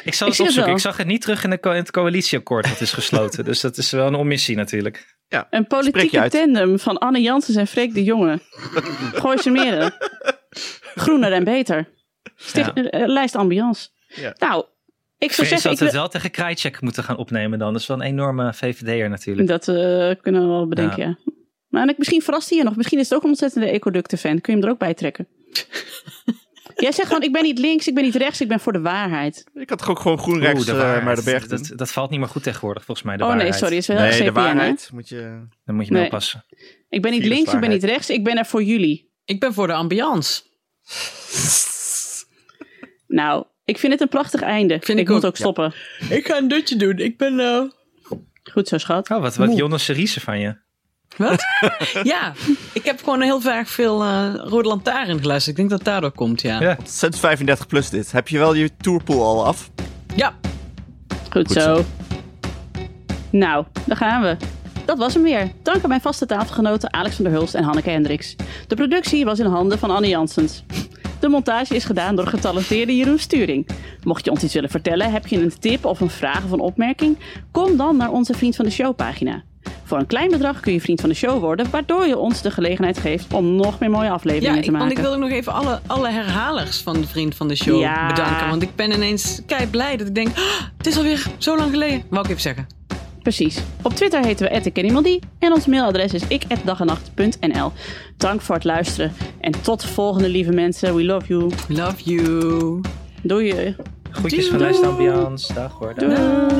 [SPEAKER 2] Ik zal
[SPEAKER 4] Ik zie het
[SPEAKER 2] het opzoeken.
[SPEAKER 4] wel.
[SPEAKER 2] Ik zag het niet terug in, de, co- in het coalitieakkoord dat is gesloten. dus dat is wel een omissie natuurlijk.
[SPEAKER 4] Een
[SPEAKER 3] Spreek je
[SPEAKER 4] politieke
[SPEAKER 3] uit.
[SPEAKER 4] tandem van Anne Janssens en Freek de Jonge. Gooi ze meren. Groener en beter. Sticht,
[SPEAKER 2] Ja.
[SPEAKER 4] eh, eh, lijst ambiance.
[SPEAKER 3] Ja.
[SPEAKER 4] Nou, ik zou
[SPEAKER 2] Vrees
[SPEAKER 4] zeggen...
[SPEAKER 2] dat
[SPEAKER 4] Ik
[SPEAKER 2] we het
[SPEAKER 4] wil-
[SPEAKER 2] wel tegen Krajcek moeten gaan opnemen dan. Dat is wel een enorme VVD'er natuurlijk.
[SPEAKER 4] dat eh, kunnen we wel bedenken, ja. Maar en ik, misschien verrast hij je nog. Misschien is het ook een ontzettende ecoducten-fan. Kun je hem er ook bij trekken? Jij zegt gewoon, ik ben niet links, ik ben niet rechts, ik ben voor de waarheid.
[SPEAKER 3] Ik had toch ook gewoon groen
[SPEAKER 2] Oeh,
[SPEAKER 3] rechts
[SPEAKER 2] de
[SPEAKER 3] eh,
[SPEAKER 2] waarheid.
[SPEAKER 3] Muidenberg doen?
[SPEAKER 2] dat, dat valt niet meer goed tegenwoordig, volgens mij. De
[SPEAKER 4] oh nee,
[SPEAKER 2] waarheid.
[SPEAKER 4] sorry, is wel heel
[SPEAKER 3] Nee,
[SPEAKER 4] CPN,
[SPEAKER 3] de
[SPEAKER 4] hè?
[SPEAKER 3] waarheid moet je...
[SPEAKER 2] Dan moet je mee
[SPEAKER 4] Nee.
[SPEAKER 2] oppassen.
[SPEAKER 4] Ik ben niet
[SPEAKER 3] Virus
[SPEAKER 4] links, ik ben
[SPEAKER 3] waarheid.
[SPEAKER 4] niet rechts, ik ben er voor jullie.
[SPEAKER 5] Ik ben voor de ambiance.
[SPEAKER 4] Nou, ik vind het een prachtig einde.
[SPEAKER 5] Vind ik
[SPEAKER 4] moet
[SPEAKER 5] ook,
[SPEAKER 4] ook stoppen.
[SPEAKER 5] Ik ga een dutje doen. Ik ben... eh,
[SPEAKER 4] Goed zo, schat.
[SPEAKER 2] Oh, wat, wat
[SPEAKER 5] Moe.
[SPEAKER 2] Jonas Seriese van je.
[SPEAKER 5] Wat? ja, ik heb gewoon heel vaak veel eh Rode Lantaarn geluisterd. Ik denk dat het daardoor komt, ja.
[SPEAKER 2] Ja.
[SPEAKER 3] Zet 35 plus dit. Heb je wel je tourpool al af?
[SPEAKER 5] Ja.
[SPEAKER 4] Goed,
[SPEAKER 3] Goed
[SPEAKER 4] zo.
[SPEAKER 3] zo.
[SPEAKER 4] Nou, daar gaan we. Dat was hem weer. Dank aan mijn vaste tafelgenoten Alex van der Hulst en Hanneke Hendricks. De productie was in handen van Anne Janssens. De montage is gedaan door getalenteerde Jeroen Sturing. Mocht je ons iets willen vertellen, heb je een tip of een vraag of een opmerking? Kom dan naar onze Vriend van de Show pagina. Voor een klein bedrag kun je Vriend van de Show worden, waardoor je ons de gelegenheid geeft om nog meer mooie
[SPEAKER 5] Ja,
[SPEAKER 4] afleveringen
[SPEAKER 5] ik,
[SPEAKER 4] te maken.
[SPEAKER 5] want ik wil ook nog even alle, alle herhalers van de Vriend van de Show
[SPEAKER 4] Ja.
[SPEAKER 5] bedanken. Want ik ben ineens kei blij dat ik denk, "Ah, het is alweer zo lang geleden. Wou ik even zeggen.
[SPEAKER 4] Precies. Op Twitter heten we @ikkenniemandie en ons mailadres is ik@dagenacht.nl. Dank voor het luisteren en tot de volgende lieve mensen. We love you.
[SPEAKER 5] Love you.
[SPEAKER 4] Doei.
[SPEAKER 2] Groetjes van Lijst Ambiance. Dag hoor. Dag.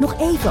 [SPEAKER 1] Nog even